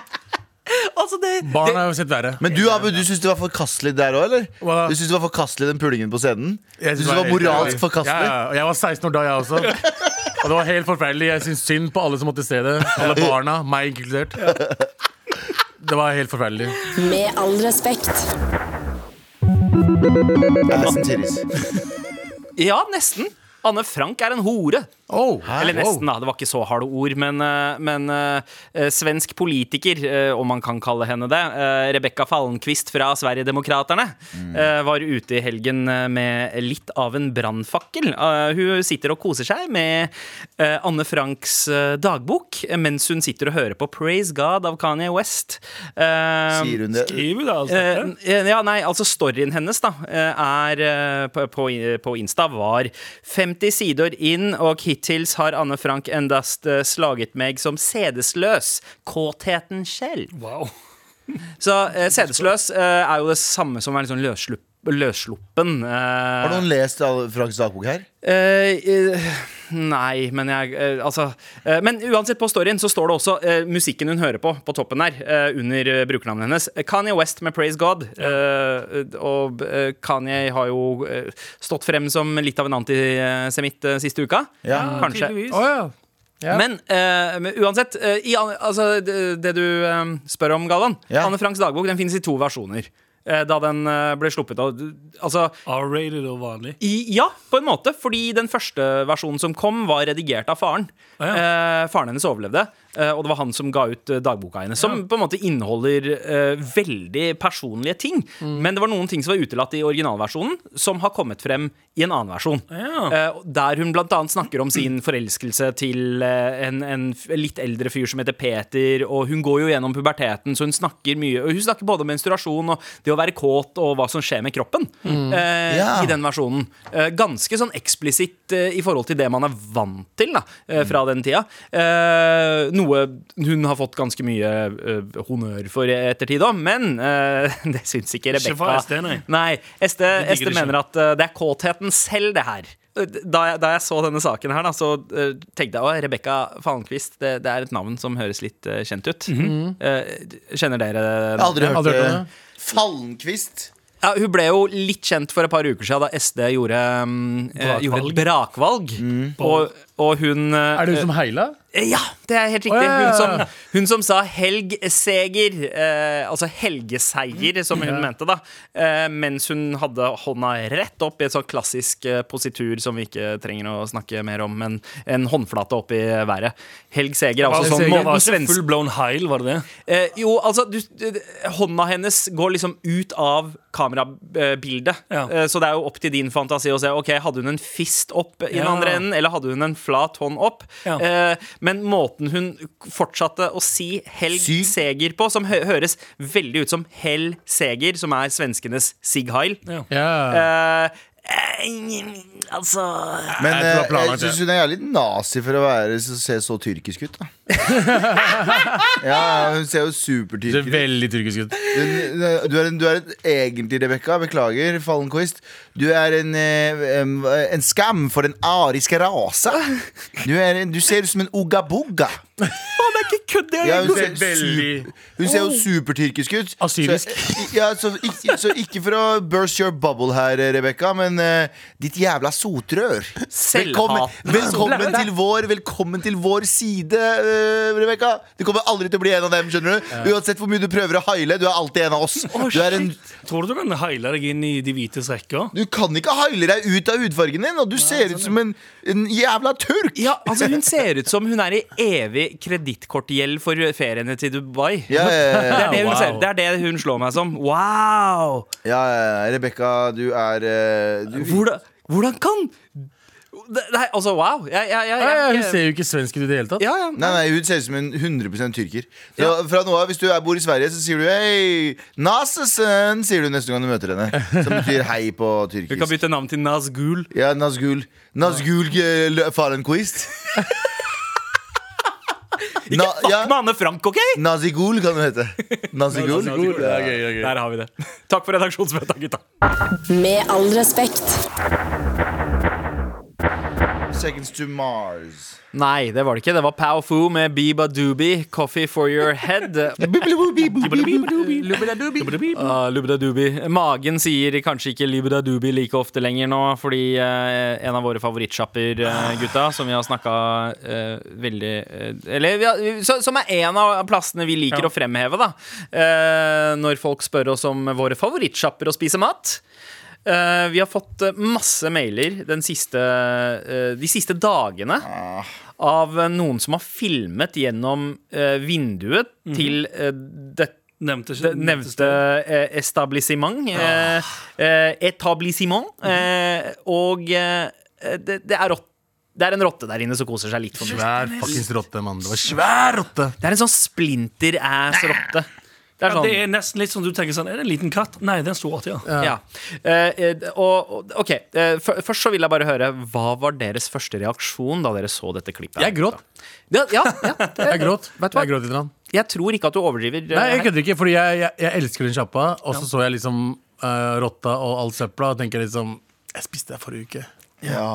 Speaker 4: Altså det,
Speaker 5: Barn har jo sett verre.
Speaker 3: Men du, Abu, du syns det var forkastelig der òg, eller?
Speaker 5: Hva da?
Speaker 3: Du syns det var forkastelig den pulingen på scenen? Du
Speaker 5: Jeg synes
Speaker 3: syns det var moralsk forkastelig?
Speaker 5: Ja, ja, og jeg var 16 år da, jeg også. Og det var helt forferdelig. Jeg syns synd på alle som måtte se det. Alle barna, meg inkludert. Det var helt forferdelig.
Speaker 6: Med all respekt.
Speaker 3: Assen titties.
Speaker 4: ja, nesten. Anne Frank er en hore.
Speaker 5: Oh,
Speaker 4: Eller
Speaker 5: wow.
Speaker 4: nesten, da. Det var ikke så harde ord. Men, eh, men eh, eh, svensk politiker, eh, om man kan kalle henne det, eh, Rebekka Fallenkvist fra Sverigedemokraterna,
Speaker 3: Mm.
Speaker 4: eh, var ute i helgen eh, med litt av en brannfakkel. Eh, hun sitter og koser seg med eh, Anne Franks eh, dagbok eh, mens hun sitter og hører på Praise God av Kanye West. Eh,
Speaker 3: Sier hun det?
Speaker 2: skriver det altså.
Speaker 4: Eh, eh, ja, nei, altså storyen hennes da eh, er eh, på, på, på Insta var 50 sider inn, og hittils har Anne Frank endast eh, slaget meg som sedesløs. Kåtheten selv.
Speaker 2: Wow.
Speaker 4: Så eh, sedesløs eh, er jo det samme som å være litt sånn løsslupp, løssluppen. eh,
Speaker 3: Har noen lest all- Franks dagbok her?
Speaker 4: Eh, eh, nei, men jeg eh, Altså. eh, men uansett, på storyen så står det også eh, musikken hun hører på, på toppen der, eh, under eh, brukernavnet hennes. Kanye West med 'Praise God'. Eh, og eh, Kanye har jo eh, stått frem som litt av en antisemitt eh, siste uka.
Speaker 3: Ja.
Speaker 4: Kanskje.
Speaker 2: Tydeligvis.
Speaker 5: Å, ja. Ja.
Speaker 4: Men, eh, men uansett, eh, i, an- altså, det, det du eh, spør om, Galvan
Speaker 3: Ja.
Speaker 4: Anne Franks dagbok den finnes i to versjoner. eh, da den eh, ble sluppet av Altså
Speaker 2: R-rated og vanlig.
Speaker 4: i, ja, på en måte. Fordi den første versjonen som kom, var redigert av faren.
Speaker 2: Å, ja.
Speaker 4: eh, faren hennes overlevde, eh, og det var han som ga ut eh, dagboka hennes. Som på en måte inneholder eh, veldig personlige ting.
Speaker 2: Mm.
Speaker 4: Men det var noen ting som var utelatt i originalversjonen, som har kommet frem i en annen versjon.
Speaker 2: Ja.
Speaker 4: Eh, der hun blant annet snakker om sin forelskelse til eh, en, en f- litt eldre fyr som heter Peter. Og hun går jo gjennom puberteten, så hun snakker mye. Og hun snakker både om menstruasjon og det å være kåt og hva som skjer med kroppen.
Speaker 2: Mm.
Speaker 4: Eh,
Speaker 3: Ja.
Speaker 4: I den versjonen. Eh, ganske sånn eksplisitt eh, i forhold til det man er vant til da, eh, fra den tida. Eh, noe hun har fått ganske mye eh, honnør for i ettertid òg, men eh, det syns ikke Rebekka.
Speaker 2: Ikke fra SD, nei.
Speaker 4: Nei, SD,
Speaker 2: digger
Speaker 4: SD
Speaker 2: det ikke.
Speaker 4: mener at eh, det er kåtheten selv, det her. Eh, Da jeg, da jeg så denne saken her, da, så eh, tenkte jeg at Rebekka Fallenkvist det, det er et navn som høres litt eh, kjent ut. Eh, kjenner dere
Speaker 3: Jeg har aldri
Speaker 5: Jeg
Speaker 3: hørt
Speaker 5: har aldri
Speaker 3: det.
Speaker 5: hørt om det.
Speaker 3: Fallenkvist.
Speaker 4: ja, Hun ble jo litt kjent for et par uker siden da SD gjorde, mm, eh,
Speaker 2: Brakvalg.
Speaker 4: gjorde et brakvalg. Og, og hun eh,
Speaker 5: Mm. Er det hun som heila?
Speaker 4: eh, Ja, det er helt riktig.
Speaker 5: Å, ja, ja,
Speaker 4: Hun
Speaker 5: ja.
Speaker 4: som, hun som sa helgseger, eh, altså helgeseier, som hun mente, da. Eh, mens hun hadde hånda rett opp i et sånn klassisk eh, positur som vi ikke trenger å snakke mer om, men en håndflate opp i været. Helgseger,
Speaker 2: Altså,
Speaker 4: altså
Speaker 2: sånn,
Speaker 4: sånn
Speaker 2: det var
Speaker 4: Morten
Speaker 2: ikke
Speaker 4: Svensk
Speaker 2: full blown heil, var det det?
Speaker 4: Eh, jo, altså du, eh, Hånda hennes går liksom ut av kamerabildet.
Speaker 2: Ja.
Speaker 4: Eh, så det er jo opp til din fantasi å se. Ok, Hadde hun en fist opp i den
Speaker 2: Ja.
Speaker 4: andre enden, eller hadde hun en flat hånd opp?
Speaker 2: Ja.
Speaker 4: Eh, men måten hun fortsatte å si 'Helg
Speaker 3: Syv.
Speaker 4: Seger' på, som hø høres veldig ut som 'Hell Seger', som er svenskenes Sig Heil
Speaker 5: Ja.
Speaker 4: eh, eh, Altså
Speaker 3: Men
Speaker 5: Jeg tror det var
Speaker 3: eh, jeg,
Speaker 5: planlagt,
Speaker 3: synes hun er jævlig nazi for å være, så- se så tyrkisk ut. Da. ja, hun ser jo
Speaker 5: Du ser
Speaker 3: supertyrkisk ut.
Speaker 5: veldig tyrkisk ut.
Speaker 3: Den- den- Du er, en, du er et, egentlig, Rebekka, beklager, Fallenquist. Du er en, eh, em, en skam for den ariske rase. Du, er en, du ser ut som en ugga-bugga.
Speaker 4: Faen, det er ikke kødd! det er-
Speaker 3: Ja, hun,
Speaker 5: Du
Speaker 3: ser
Speaker 5: ser
Speaker 3: su-
Speaker 5: veldig
Speaker 3: hun ser jo supertyrkisk ut.
Speaker 5: Assyrisk.
Speaker 3: Så, ja, så, ikke, så ikke for å burst your bubble her, Rebekka, men eh, ditt jævla sotrør. Velkommen,
Speaker 4: Selvhatende
Speaker 3: velkommen til vår Velkommen til vår side, uh, Rebekka. Du kommer aldri til å bli en av dem. skjønner du Uansett hvor mye du prøver å heile, du er alltid en av oss. Du, er en,
Speaker 2: Tror du du kan heile deg inn i de hvites rekker?
Speaker 3: du kan ikke heile deg ut av hudfargen din, og du ser ut som en, en jævla turk.
Speaker 4: Ja, altså Hun ser ut som hun er i evig kredittkortgjeld for feriene til Dubai.
Speaker 3: Ja, ja,
Speaker 4: Det
Speaker 3: ja,
Speaker 4: er det, hun
Speaker 2: Wow.
Speaker 4: ser. det er det hun slår meg som. Wow!
Speaker 3: ja, ja, Rebekka, du er eh, du,
Speaker 4: Hvordan, hvordan kan Det- Nei, altså, wow. Jeg, jeg, jeg,
Speaker 5: Ja, ja,
Speaker 4: jeg,
Speaker 5: hun ser jo ikke svensk ut i det hele tatt.
Speaker 4: ja, ja.
Speaker 3: Nei, nei, hun ser ut som en 100 tyrker. Fra, fra nå av, Hvis du er, bor i Sverige, så sier du 'hei, Nasesen', sier du neste gang du møter henne. Som betyr hei på
Speaker 4: Hun kan
Speaker 3: tyrkisk.
Speaker 4: bytte navn til Nazgul.
Speaker 3: Ja, Nazgul. Nazgul eh, Lø- Fahrenquist. Na, ja,
Speaker 4: Fuck med Anne Frank, OK?
Speaker 3: Nazigul kan hun hete. Nazigul.
Speaker 5: Det er gøy, det er gøy.
Speaker 4: Der har vi det. Takk for redaksjonsmøtet, gutta.
Speaker 6: Med all respekt.
Speaker 3: Seconds to Mars.
Speaker 4: Nei, det var det ikke. Det var Pow Foo med Biba Doobie, Coffee for your head. Ah, Lubda Doobie. Magen sier kanskje ikke Lubda Doobie like ofte lenger nå, fordi eh, en av våre favorittsjapper, eh, gutta, som vi har snakka eh, veldig eh, Eller vi har, så, som er en av plassene vi liker å fremheve, da. Eh, når folk spør oss om våre favorittsjapper å spise mat. Eh, vi har fått eh, masse mailer den siste, eh, de siste dagene av eh, noen som har filmet gjennom eh, vinduet til eh, dette
Speaker 2: Nevnte ikke
Speaker 4: det nevnte eh, establishment. Eh, eh, etablissement. Eh, og eh, det, det, er rott, det er en rotte der inne som koser seg litt for mye.
Speaker 5: Svær fuckings rotte, mann. Det var svær rotte.
Speaker 4: Det er en sånn splinter-ass-rotte. Det er
Speaker 2: Ja,
Speaker 4: sånn,
Speaker 2: det er nesten litt sånn du tenker sånn Er det en liten katt? Nei, det er en stor åtte, ja.
Speaker 4: ja. Eh, eh, og, og- ok, eh, fø- Først så vil jeg bare høre hva var deres første reaksjon da dere så dette klippet?
Speaker 5: Jeg gråt.
Speaker 4: Ja, ja, ja, det,
Speaker 5: Jeg gråt.
Speaker 4: Vet du hva?
Speaker 5: Jeg gråt litt. Grann.
Speaker 4: Jeg tror ikke at du overdriver. eh,
Speaker 5: Nei, jeg
Speaker 4: her.
Speaker 5: kødder ikke, fordi jeg, jeg, jeg elsker den sjappa. Og så så jeg liksom eh, rotta og all søpla, og tenker liksom Jeg spiste det forrige uke.
Speaker 3: Ja.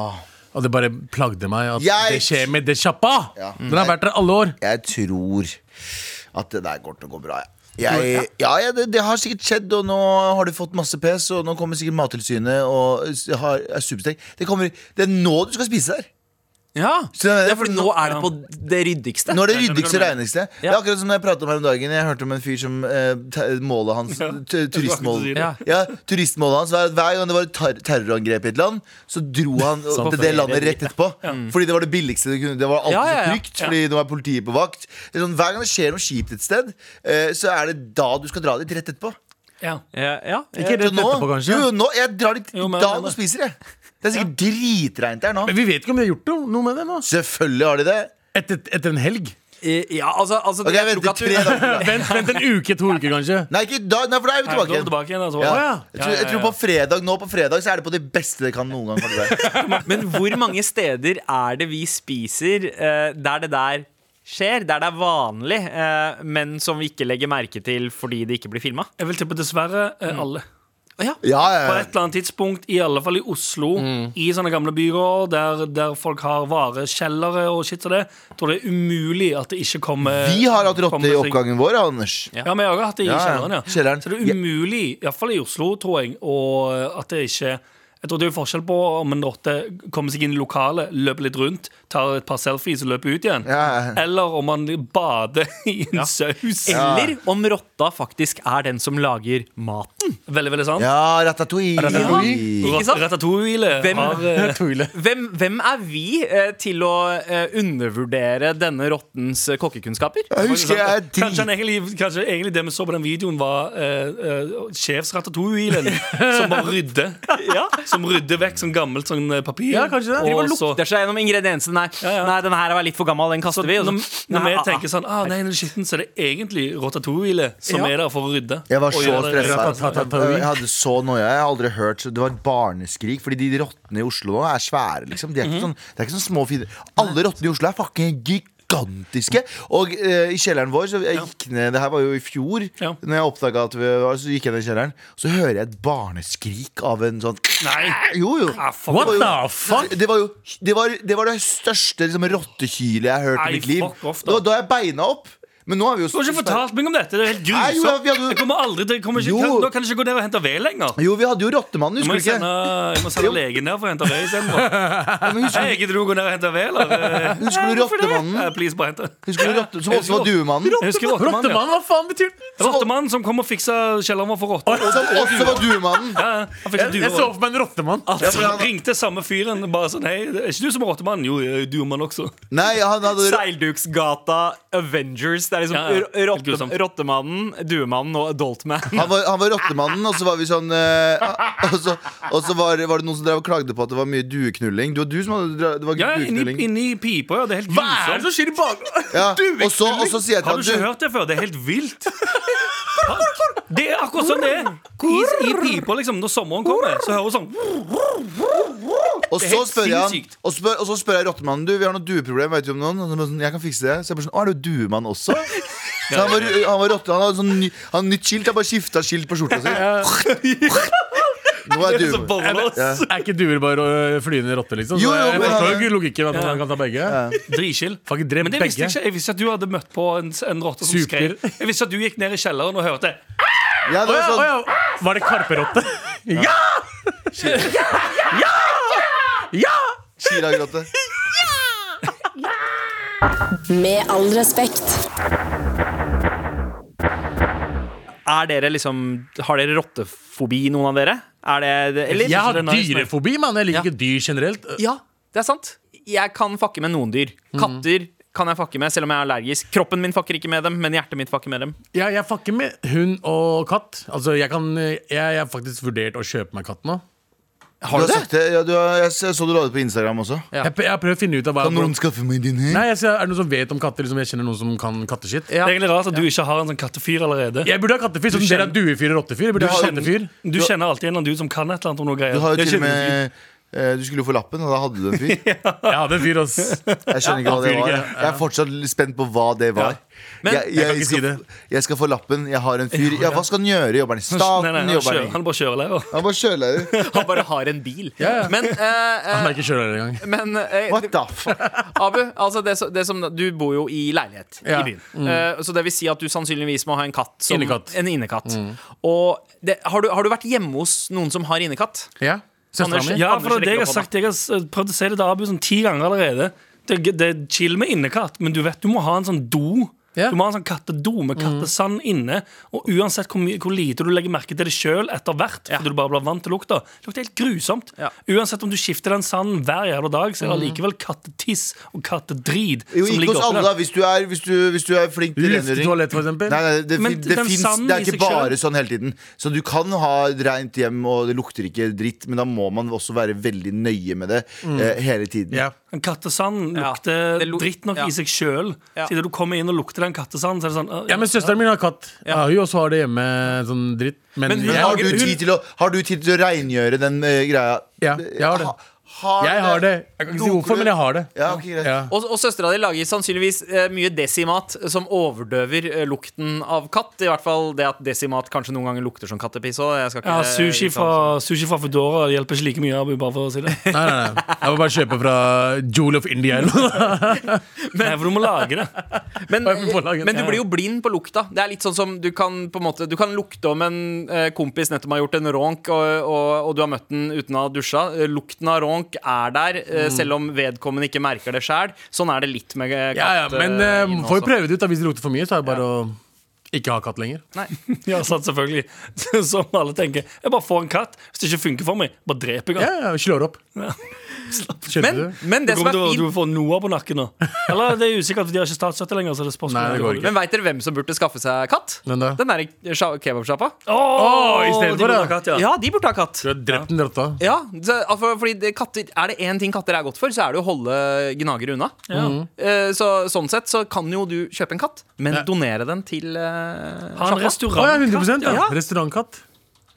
Speaker 5: Og det bare plagde meg at
Speaker 3: Jeg-
Speaker 5: det skjer med det sjappa!
Speaker 3: Ja.
Speaker 5: Den har vært der alle år.
Speaker 3: Jeg tror at det der går til å gå bra, jeg. Jeg, ja, ja det, det har sikkert skjedd, og nå har du fått masse pes, og nå kommer sikkert Mattilsynet og s- har, er superstreng. Det, kommer, det er nå du skal spise der.
Speaker 4: Ja,
Speaker 3: Så det er-
Speaker 4: det er fordi nå er det på det ryddigste.
Speaker 3: Nå er det ryddigste, reneste. Det er
Speaker 4: Ja.
Speaker 3: akkurat som jeg pratet om her om dagen. Jeg hørte om en fyr som eh, te- målet hans
Speaker 2: Ja,
Speaker 3: tu- Turistmålet
Speaker 2: jeg skulle
Speaker 4: si det.
Speaker 3: Ja, turistmålet hans var at hver gang det var ter terrorangrep i et land, så dro han
Speaker 4: Sånn.
Speaker 3: til det landet rett etterpå. Fordi det var det billigste du kunne. Det var alltid
Speaker 4: Ja, ja, ja.
Speaker 3: så trygt, fordi det var politiet på vakt. Det er sånn, hver gang det skjer noe kjipt et sted, eh, så er det da du skal dra dit rett etterpå.
Speaker 2: Ja.
Speaker 4: Ja, ja. Eh,
Speaker 5: Ikke
Speaker 3: Så
Speaker 5: rett etterpå,
Speaker 3: Jo,
Speaker 5: kanskje?
Speaker 3: jo, nå, jeg drar dit
Speaker 2: Jo, men-
Speaker 3: da og spiser, jeg. Det er sikkert dritreint der nå.
Speaker 5: Men vi vet ikke om de har gjort noe, noe med det nå.
Speaker 3: Selvfølgelig har de det.
Speaker 5: Etter, etter en helg.
Speaker 4: ja altså, altså
Speaker 3: Ok, jeg
Speaker 4: tror ikke
Speaker 3: venter
Speaker 4: at
Speaker 3: tre
Speaker 4: du-
Speaker 3: dager. til, da.
Speaker 5: Vent, vent en uke, to uker, kanskje.
Speaker 3: Nei, ikke da, nei, for da er vi tilbake
Speaker 2: Nei, da er vi
Speaker 3: igjen.
Speaker 2: tilbake igjen altså.
Speaker 3: Ja.
Speaker 5: ja.
Speaker 3: Jeg, tror, jeg tror på fredag Nå på fredag så er det på det beste det kan noen gang komme til deg.
Speaker 4: Men hvor mange steder er det vi spiser eh, der det der skjer? Der det er vanlig, eh, men som vi ikke legger merke til fordi det ikke blir filma?
Speaker 2: Jeg vil tippe dessverre eh,
Speaker 3: Mm.
Speaker 2: alle.
Speaker 3: Ja, ja,
Speaker 2: På
Speaker 3: ja.
Speaker 2: et eller annet tidspunkt, i alle fall i Oslo,
Speaker 3: Mm.
Speaker 2: i sånne gamle bygårder der, der folk har varekjellere og shit og det, tror det er umulig at det ikke kommer
Speaker 3: Vi har hatt rotte
Speaker 2: kommer
Speaker 3: i
Speaker 2: seg-
Speaker 3: oppgangen vår, Anders.
Speaker 2: Ja, men jeg har også hatt det i
Speaker 3: Ja, ja.
Speaker 2: kjelleren, ja.
Speaker 3: Kjelleren.
Speaker 2: Så det er umulig, iallfall i Oslo, tror jeg, og eh, at det ikke jeg tror Det er jo forskjell på om en rotte kommer seg inn i lokalet, løper litt rundt, tar et par selfies og løper ut igjen,
Speaker 3: Ja.
Speaker 2: eller om han bader i en saus.
Speaker 4: Eller om rotta faktisk er den som lager maten.
Speaker 2: Veldig, veldig sant.
Speaker 3: Ja, ratatouille.
Speaker 4: Ratatouille. Ikke sant?
Speaker 2: Ratatouille
Speaker 4: Hvem-
Speaker 2: har eh,
Speaker 5: Tvile.
Speaker 4: Hvem, hvem er vi eh, til å eh, undervurdere denne rottens eh, kokkekunnskaper?
Speaker 3: Jeg husker jeg er
Speaker 2: Kanskje, han
Speaker 3: drit...
Speaker 2: egentlig, kanskje egentlig det vi så på den videoen, var eh, eh, sjefsratatouillen som bare rydder. Som rydder vekk sånn gammelt sånn eh, papir.
Speaker 5: Ja, kanskje det.
Speaker 4: Driver
Speaker 2: Og
Speaker 4: og
Speaker 2: så,
Speaker 4: lukter seg gjennom ingrediensene. Nei,
Speaker 2: ja.
Speaker 4: nei den her var litt for gammel, den kaster vi. Og
Speaker 2: når,
Speaker 4: så,
Speaker 2: når
Speaker 4: nei,
Speaker 2: vi
Speaker 4: ah, ah.
Speaker 2: tenker sånn ah, Nei, den er skitten, så er det egentlig ratatouille som
Speaker 4: Ja.
Speaker 2: er der for å rydde.
Speaker 3: Jeg var
Speaker 2: Og
Speaker 3: så
Speaker 2: gjøre det-
Speaker 3: stressa.
Speaker 5: Ratatouille.
Speaker 3: Jeg hadde så noia. Jeg har aldri hørt så Det var et barneskrik. Fordi de rottene i Oslo nå er svære, liksom. De er
Speaker 2: Mhm.
Speaker 3: ikke sånn, det er ikke sånn små fine Alle rottene i Oslo er fucking gigantiske. Og eh, i kjelleren vår så jeg gikk ned Det her var jo i fjor.
Speaker 2: Ja.
Speaker 3: Når jeg oppdaga at vi var Så gikk jeg ned i kjelleren, så hører jeg et barneskrik av en sånn
Speaker 2: Nei.
Speaker 3: Jo, jo.
Speaker 2: Ah, fuck.
Speaker 5: What
Speaker 3: Det
Speaker 5: the
Speaker 3: var jo-
Speaker 5: fuck?
Speaker 3: Det var jo Det var det, var det største liksom, rottehylet jeg har hørt
Speaker 2: Nei,
Speaker 3: i mitt liv.
Speaker 2: fuck off, da.
Speaker 3: Det var da jeg beina opp. Men nå har vi jo
Speaker 2: Du har ikke fortalt meg om dette! Det er helt
Speaker 3: Nei, jo,
Speaker 2: grusomt!
Speaker 3: vi hadde jo-
Speaker 2: Jeg kommer aldri til jeg kommer ikke,
Speaker 3: Jo.
Speaker 2: kan, Nå kan jeg ikke gå ned og hente ved lenger.
Speaker 3: Jo, vi hadde jo Rottemannen,
Speaker 2: Jeg må,
Speaker 3: husker
Speaker 2: jeg
Speaker 3: du ikke?
Speaker 2: sende, jeg må sende legen ned for å hente ved istedenfor.
Speaker 3: Ja, men
Speaker 2: Hei,
Speaker 3: Husker,
Speaker 2: gidder du å gå ned og hente ved, eller? Eh,
Speaker 3: husker du Rottemannen?
Speaker 2: eh, Please, bare hente.
Speaker 3: Husker du rotte, Som også var Duemannen?
Speaker 2: Jeg husker Rottemann, ja.
Speaker 5: Rottemann, hva faen betyr den?
Speaker 2: Rottemann som kom og fiksa kjelleren vår for rotter.
Speaker 3: Som også var Duemannen.
Speaker 2: Ja, ja, han fiksa
Speaker 5: Jeg, jeg så
Speaker 2: duer.
Speaker 5: for meg en rottemann.
Speaker 2: Ja, for han ringte samme fyren bare sånn Hei, er ikke du som er rottemann? Jo, jeg er duermann også.
Speaker 3: Nei, han hadde
Speaker 4: Seilduksgata, Avengers. Det er liksom
Speaker 2: Ja, ja.
Speaker 4: r- rotte-
Speaker 2: Grusomt.
Speaker 4: Rottemannen, Duemannen og Adultman.
Speaker 3: han var, han var Rottemannen, og så var vi sånn eh, Og så, og så var, var det noen som drev og klagde på at det var mye dueknulling. Det var du som hadde dra- det var
Speaker 2: Ja, inni,
Speaker 3: dueknulling.
Speaker 2: inni pipa, ja. Det er helt
Speaker 5: Hva er det
Speaker 2: grusomt.
Speaker 5: som skjer i bakgrunnen?
Speaker 3: Ja, og, så, og så sier jeg
Speaker 2: Har
Speaker 3: til
Speaker 2: du ikke
Speaker 3: han du,
Speaker 2: hørt det før? Det er helt vilt. Det er akkurat sånn det er. I, i pipa, liksom. Når sommeren kommer, så hører du sånn
Speaker 3: Og
Speaker 2: Det er
Speaker 3: så
Speaker 2: helt
Speaker 3: spør jeg han
Speaker 2: sinnssykt.
Speaker 3: Og, spør, og så spør jeg rottemannen Du, vi har noe dueproblem, vet du om noen? Og så bare sånn, jeg kan fikse det Så jeg bare sånn, å er du duemann også? Så han var, han var rotte, han hadde sånn ny, han hadde nytt skilt Han bare skiftet skilt på skjorta si Nå er du
Speaker 2: Så boller oss.
Speaker 5: Er ikke duer bare øh, flyende rotter, liksom?
Speaker 3: Jo,
Speaker 5: Så
Speaker 3: jo,
Speaker 5: jeg
Speaker 3: men-
Speaker 5: forstår ikke logikken med at man kan ta begge.
Speaker 2: Dritchill.
Speaker 5: Fuck, drep
Speaker 2: Men det visste jeg
Speaker 5: begge.
Speaker 2: ikke. Jeg visste ikke at du hadde møtt på en, en rotte som
Speaker 5: Super.
Speaker 2: skrek. Jeg visste at du gikk ned i kjelleren og hørte
Speaker 3: Ja, det var
Speaker 5: Å ja, å
Speaker 3: sånn
Speaker 5: ja. Var det karperotte? Ja!
Speaker 3: Chiragrotte
Speaker 6: Med all respekt.
Speaker 4: Er dere liksom Har dere rottefobi, noen av dere? Er det, det eller?
Speaker 5: Jeg har
Speaker 2: det er nice, men-
Speaker 5: dyrefobi, mann. Jeg
Speaker 4: Ja.
Speaker 5: liker ikke dyr generelt.
Speaker 4: Ja, det er sant. Jeg kan fucke med noen dyr.
Speaker 5: Mhm.
Speaker 4: Katter kan jeg fucke med, selv om jeg er allergisk. Kroppen min fucker ikke med dem, men hjertet mitt fucker med dem.
Speaker 5: Ja, jeg fucker med hund og katt. Altså, jeg, kan, jeg, jeg har faktisk vurdert å kjøpe meg katt nå.
Speaker 3: Har du sagt det? Ja, du har, jeg så du la det på Instagram også
Speaker 4: Ja.
Speaker 5: Jeg, jeg har prøvd å finne ut av hva
Speaker 3: Kan noen skaffe meg din eh? her?
Speaker 5: Nei, jeg, ser- Er det noen som vet om katter? Liksom, jeg kjenner noen som kan katteskitt.
Speaker 2: Det er egentlig rart at du ikke har en sånn kattefyr allerede.
Speaker 5: Jeg burde ha kattefyr. Sånn, dere er duefyr og rottefyr. Jeg burde ha kattefyr.
Speaker 2: Du kjenner alltid en eller annen dude som kan et eller annet om noe greier.
Speaker 3: Du har jo
Speaker 2: Det
Speaker 3: til og
Speaker 2: kjenner du
Speaker 3: med eh, Du skulle jo få lappen, og da hadde du en fyr Jeg
Speaker 5: Jeg hadde en fyr, ass.
Speaker 3: skjønner ikke hva det
Speaker 5: fyr
Speaker 3: var
Speaker 5: ikke,
Speaker 3: Jeg er fortsatt litt spent på hva det var
Speaker 4: Men-
Speaker 3: jeg,
Speaker 5: Jeg kan ikke si
Speaker 3: skal,
Speaker 5: det.
Speaker 3: jeg skal få lappen, jeg har en fyr Ja, hva skal han gjøre? Jobber han i staten?
Speaker 2: Nei, nei, han,
Speaker 3: Jobber
Speaker 2: kjører,
Speaker 3: han i-
Speaker 2: han er bare kjørelærer.
Speaker 3: Han var kjørelærer.
Speaker 4: Han bare har en bil.
Speaker 5: Ja, ja.
Speaker 4: Men, eh, eh,
Speaker 5: Han er ikke kjørelærer engang.
Speaker 4: men eh,
Speaker 3: What the fuck?
Speaker 4: Abu, altså det, som- det som, du bor jo i leilighet
Speaker 5: Ja.
Speaker 4: i byen. Eh, så det vil si at du sannsynligvis må ha en katt. Som,
Speaker 5: Innekatt.
Speaker 4: En innekatt. Og det, har, du, har du vært hjemme hos noen som har innekatt?
Speaker 5: Ja. Søstera
Speaker 4: Anders-
Speaker 5: mi.
Speaker 2: Ja,
Speaker 4: Anders
Speaker 2: for det, er det jeg
Speaker 4: rekker
Speaker 2: har
Speaker 4: opp
Speaker 2: sagt Jeg har s- prøvd å si det til Abu sånn ti ganger allerede. det, det er chill med innekatt, men du vet du må ha en sånn do.
Speaker 5: Ja.
Speaker 2: Du må ha en sånn kattedo
Speaker 4: Mm.
Speaker 2: med kattesand inne. Og uansett hvor, mye, hvor lite du legger merke til det sjøl etter hvert,
Speaker 4: Ja.
Speaker 2: fordi du bare blir vant til lukta, det lukter helt grusomt.
Speaker 4: Ja. Mm.
Speaker 2: Uansett om du skifter den sanden hver jævla dag, så er det allikevel kattetiss og kattedrit
Speaker 3: Jo,
Speaker 2: som
Speaker 3: ikke
Speaker 2: ligger
Speaker 3: hos
Speaker 2: oppi
Speaker 3: alle,
Speaker 2: der.
Speaker 3: da. Hvis du er, hvis du, hvis du er flink til rengjøring.
Speaker 5: Luftetoalett, for eksempel.
Speaker 3: Nei, nei, det,
Speaker 2: Men
Speaker 3: fin- det,
Speaker 2: den
Speaker 3: finnes,
Speaker 2: sanden
Speaker 3: det er
Speaker 2: i
Speaker 3: ikke
Speaker 2: seg selv-
Speaker 3: bare sånn hele tiden. Så du kan ha et rent hjem, og det lukter ikke dritt, men da må man også være veldig nøye med det eh, hele tiden.
Speaker 5: Mm. Ja.
Speaker 2: En kattesand
Speaker 4: Ja.
Speaker 2: lukter
Speaker 4: Det lu-
Speaker 2: dritt nok
Speaker 4: ja.
Speaker 2: i seg sjøl.
Speaker 4: Ja.
Speaker 2: Siden du kommer inn og lukter den kattesanden, så er det sånn «Å,
Speaker 5: Ja, men Søsteren min har katt. Ja. hun også har det hjemme. Sånn dritt. Men,
Speaker 4: Men hun
Speaker 5: jeg,
Speaker 3: Har
Speaker 5: har
Speaker 3: du,
Speaker 5: det-
Speaker 3: tid til å, har du tid til å rengjøre den eh, greia?
Speaker 5: Ja, jeg har det.
Speaker 3: Ha-
Speaker 5: jeg har det. Jeg kan ikke si hvorfor, men jeg har det.
Speaker 3: Ja, ok, greit.
Speaker 5: Ja.
Speaker 4: Og, og søstera di lager sannsynligvis eh, mye desimat som overdøver eh, lukten av katt. I hvert fall det at desimat kanskje noen ganger lukter som kattepiss òg.
Speaker 5: Eh,
Speaker 2: Ja, sushi fra, sushi fra Foodora det hjelper ikke like mye, Abu, bare for å si det.
Speaker 5: Nei, nei, nei. Jeg må bare kjøpe fra Jewel of India eller noe.
Speaker 2: Nei, for du må lage det.
Speaker 4: Men,
Speaker 5: Bare på laget.
Speaker 4: men du
Speaker 5: Ja, ja.
Speaker 4: blir jo blind på lukta. Det er litt sånn som Du kan på en måte Du kan lukte om en eh, kompis nettopp har gjort en ronk, og, og, og du har møtt den uten å ha dusja. Eh, Lukten av ronk er der, eh, selv om vedkommende ikke merker det sjæl. Sånn er det litt med eh, katt.
Speaker 5: Ja, ja, men
Speaker 4: eh,
Speaker 5: eh,
Speaker 4: inn
Speaker 5: får jo
Speaker 4: også.
Speaker 5: prøve det ut. da Hvis det lukter for mye, så er det bare å ikke ha katt lenger.
Speaker 4: Nei.
Speaker 2: Ja, sant, selvfølgelig. Som alle tenker. Jeg bare får en katt. Hvis det ikke funker for meg, bare dreper jeg
Speaker 5: Ja,
Speaker 2: den.
Speaker 5: ja, Slår opp. Kjøper
Speaker 4: Men,
Speaker 5: du?
Speaker 4: men
Speaker 2: Du
Speaker 4: det som er
Speaker 2: kommer til å
Speaker 4: fint
Speaker 2: du får Noah på nakken nå. Eller det er usikkert, for de har ikke statsstøtte lenger. Så det spørs
Speaker 5: Nei, det går
Speaker 4: Men veit dere hvem som burde skaffe seg katt?
Speaker 5: Hvem da?
Speaker 4: Den derre sja- kebabsjappa.
Speaker 2: Åh,
Speaker 5: Åh, i
Speaker 2: de
Speaker 5: stedet for
Speaker 2: burde
Speaker 5: det.
Speaker 2: ha katt, ja.
Speaker 4: Ja, de burde ha katt.
Speaker 5: Du har drept den rotta.
Speaker 4: Ja, så, al- for, fordi det, katter, Er det én ting katter er godt for, så er det å holde gnagere unna.
Speaker 5: Mm.
Speaker 4: Eh, så, sånn sett så kan jo du kjøpe en katt, men
Speaker 5: Ja.
Speaker 4: donere den til eh,
Speaker 2: Ha en
Speaker 4: sjappa.
Speaker 5: Å ja,
Speaker 2: restaurantkatt.
Speaker 5: 100 ja.
Speaker 4: Ja.
Speaker 5: Restaurantkatt.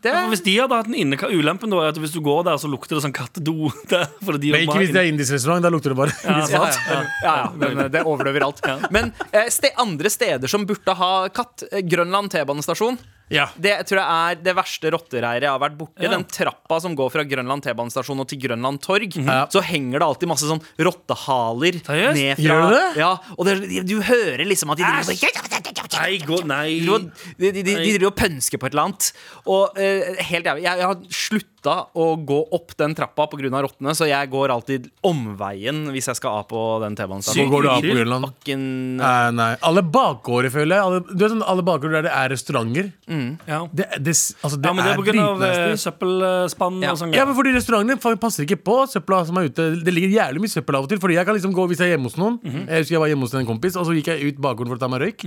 Speaker 4: Det,
Speaker 2: For Hvis de hadde hatt en innekatt Ulempen da er at hvis du går der, så lukter det sånn kattedo der. Fordi de
Speaker 5: Men ikke hvis det er indisk restaurant. Da lukter det bare indisk
Speaker 4: ja,
Speaker 5: mat.
Speaker 4: ja,
Speaker 2: sånn.
Speaker 4: ja, ja, men, eh, det overdøver alt. Men eh, ste, andre steder som burde ha katt, eh, Grønland T-banestasjon,
Speaker 5: Ja.
Speaker 4: det tror jeg er det verste rottereiret jeg har vært borti.
Speaker 2: Ja.
Speaker 4: Den trappa som går fra Grønland T-banestasjon og til Grønland torg,
Speaker 5: Ja.
Speaker 4: så henger det alltid masse sånn rottehaler
Speaker 2: Mhm. Seriøst?
Speaker 4: ned fra
Speaker 5: Gjør det det?
Speaker 4: Ja, og det, du hører liksom at de driver sånn
Speaker 2: Nei, gå, nei.
Speaker 4: driver og- de, de, de, de driver og pønsker på et eller annet. Og eh, helt jævlig, jeg, jeg har slutta å gå opp den trappa pga. rottene, så jeg går alltid omveien hvis jeg skal av på den
Speaker 5: Hvor
Speaker 4: T-banen.
Speaker 5: går du av på Grønland?
Speaker 4: Fucking-
Speaker 5: Nei, nei. Alle bakgårder, føler jeg. Alle, du vet sånn, alle bakgårder der det er restauranter.
Speaker 2: Ja.
Speaker 5: Det, det, altså, det,
Speaker 2: ja, men det er
Speaker 5: er
Speaker 2: på grunn av eh,
Speaker 5: dritnasty.
Speaker 2: søppelspann
Speaker 4: Ja.
Speaker 2: og sånn.
Speaker 5: Ja, men fordi Restaurantene fa- passer ikke på søpla som er ute. Det ligger jævlig mye søppel av og til. Fordi jeg kan liksom gå Hvis jeg er hjemme hos noen Jeg husker jeg var hjemme hos en kompis, og så gikk jeg ut bakgården for å ta meg røyk.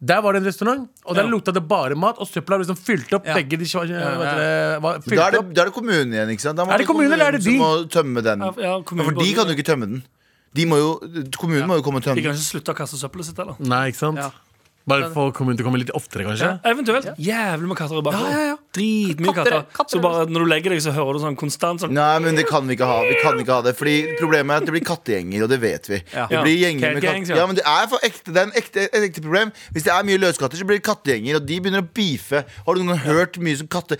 Speaker 5: Der var det en restaurant, og der
Speaker 2: Ja.
Speaker 5: lukta det bare mat. Og søpla var liksom fylt opp.
Speaker 4: Ja.
Speaker 5: Begge de sva- hva heter det, var fylt
Speaker 3: Da er, det,
Speaker 5: opp.
Speaker 3: da er det kommunen igjen, ikke sant? Da må
Speaker 5: Er det kommunen, eller er det
Speaker 3: som
Speaker 5: de?
Speaker 3: må tømme den.
Speaker 2: Ja, ja, kommunen
Speaker 3: for de
Speaker 2: går-
Speaker 3: kan jo ikke tømme den. De må jo, kommunen må jo komme og
Speaker 2: De
Speaker 3: tømme
Speaker 2: kan
Speaker 3: den.
Speaker 2: ikke slutte å kaste søppelet sitt, eller?
Speaker 5: Nei, ikke sant?
Speaker 4: Ja.
Speaker 5: Bare få kommunen til å komme litt oftere, kanskje.
Speaker 2: Eventuelt. Jævlig med katter i bakgrunnen.
Speaker 4: Ja, ja, ja.
Speaker 2: Dritmye
Speaker 4: Katter,
Speaker 2: katter.
Speaker 4: katter
Speaker 2: Så bare når du legger deg, så hører du sånn konstant sånn
Speaker 3: Nei, men det kan vi ikke ha. Vi kan ikke ha det Fordi Problemet er at det blir kattegjenger, og det vet vi.
Speaker 4: Ja.
Speaker 3: Det blir gjenger med
Speaker 2: Cat gangs,
Speaker 3: katt
Speaker 2: ja.
Speaker 3: Ja, men det er, for ekte, det er en ekte, et ekte problem. Hvis det er mye løskatter, så blir det kattegjenger, og de begynner å beefe. Har du noen gang hørt mye som katte...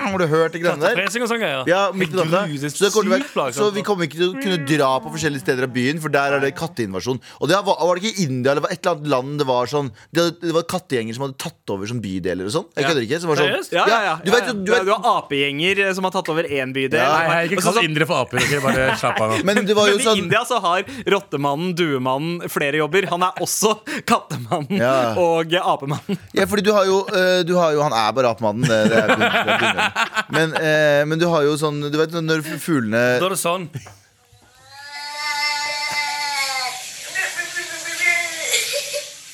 Speaker 3: Har du hørt det greiene der?
Speaker 2: Kattepresing og sånn greier.
Speaker 3: Ja, midt i natta.
Speaker 2: Gud, det er
Speaker 3: Så, det kommer til å
Speaker 2: sykt altså.
Speaker 3: være-
Speaker 2: plagsomt.
Speaker 3: så vi kommer ikke til å kunne dra på forskjellige steder av byen, for der er det katteinvasjon. Og det var, var det ikke i India eller var et eller annet land det var sånn Det, hadde- det var kattegjenger som hadde tatt over sånn bydeler og sånn. Jeg kødder ikke. Som var sånn
Speaker 2: Seriøst?
Speaker 4: Ja, ja, ja,
Speaker 3: Du vet jo
Speaker 4: ja,
Speaker 3: du
Speaker 4: ja.
Speaker 3: vet,
Speaker 4: du har apegjenger eh, som har tatt over én bydel.
Speaker 3: Ja.
Speaker 5: Nei, hei, ikke
Speaker 4: Og så- sånn-
Speaker 5: kall indre for aper. ok? Bare slapp av nå.
Speaker 3: Men det var jo
Speaker 4: men i
Speaker 3: sånn
Speaker 4: India så har rottemannen, duemannen, flere jobber. Han er også kattemannen
Speaker 3: Ja.
Speaker 4: og apemannen.
Speaker 3: Ja, fordi du har jo, eh, du har jo Han er bare apemannen. det- det er- det er dumme. Men, eh, men du har jo sånn Du vet sånn når
Speaker 2: Da
Speaker 3: fuglene
Speaker 2: er det sånn.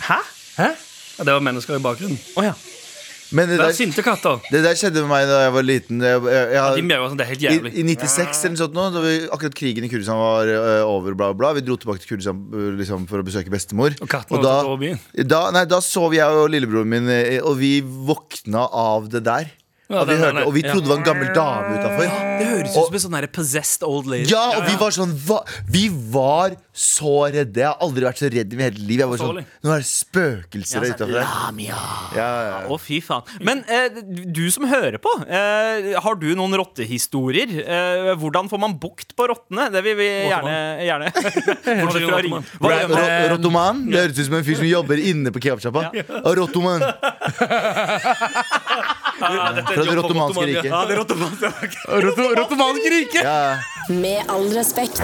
Speaker 4: Hæ?
Speaker 5: Hæ?
Speaker 2: Det var mennesker i bakgrunnen.
Speaker 4: Å ja.
Speaker 3: Men det
Speaker 2: Det er
Speaker 3: der,
Speaker 2: sinte katter.
Speaker 3: det der skjedde med meg da jeg var liten. Jeg, jeg, jeg,
Speaker 2: De mjauer sånn. Det er helt
Speaker 3: I, I
Speaker 2: jævlig.
Speaker 3: 96 eller noe sånt nå, da vi, akkurat krigen i Kurdistan var eh, over, bla, bla, bla. Vi dro tilbake til Kurdistan eh, liksom, for å besøke bestemor.
Speaker 2: Og katten
Speaker 3: da,
Speaker 2: var over byen.
Speaker 3: da, nei, da sov jeg og lillebroren min, eh, og vi våkna av det der.
Speaker 2: Ja,
Speaker 3: og, vi
Speaker 2: den der,
Speaker 3: hørte, og vi
Speaker 2: ja.
Speaker 3: trodde det var en gammel dame utafor.
Speaker 4: Det høres ut som en sånn der possessed old lady.
Speaker 3: Ja, og vi var sånn hva? Vi var så redde. Jeg har aldri vært så redd i mitt hele liv. Jeg var sånn,
Speaker 2: Forståelig.
Speaker 3: Nå er det spøkelser
Speaker 4: Ja, sånn,
Speaker 3: utafor. Ja, ja,
Speaker 4: Å, fy faen. Men eh, du som hører på, eh, har du noen rottehistorier? Eh, hvordan får man bukt på rottene? Det vil vi gjerne, gjerne. Bortsett fra ring. Hva,
Speaker 3: Rot- rot- Rottoman? Det høres ut som en fyr som jobber inne på kebabsjappa. Rottoman.
Speaker 2: Ah,
Speaker 3: Fra det rottomanske riket.
Speaker 4: ja, det er rottemann.
Speaker 5: Rotomansk rike!
Speaker 3: Ja, ja.
Speaker 6: Med all respekt.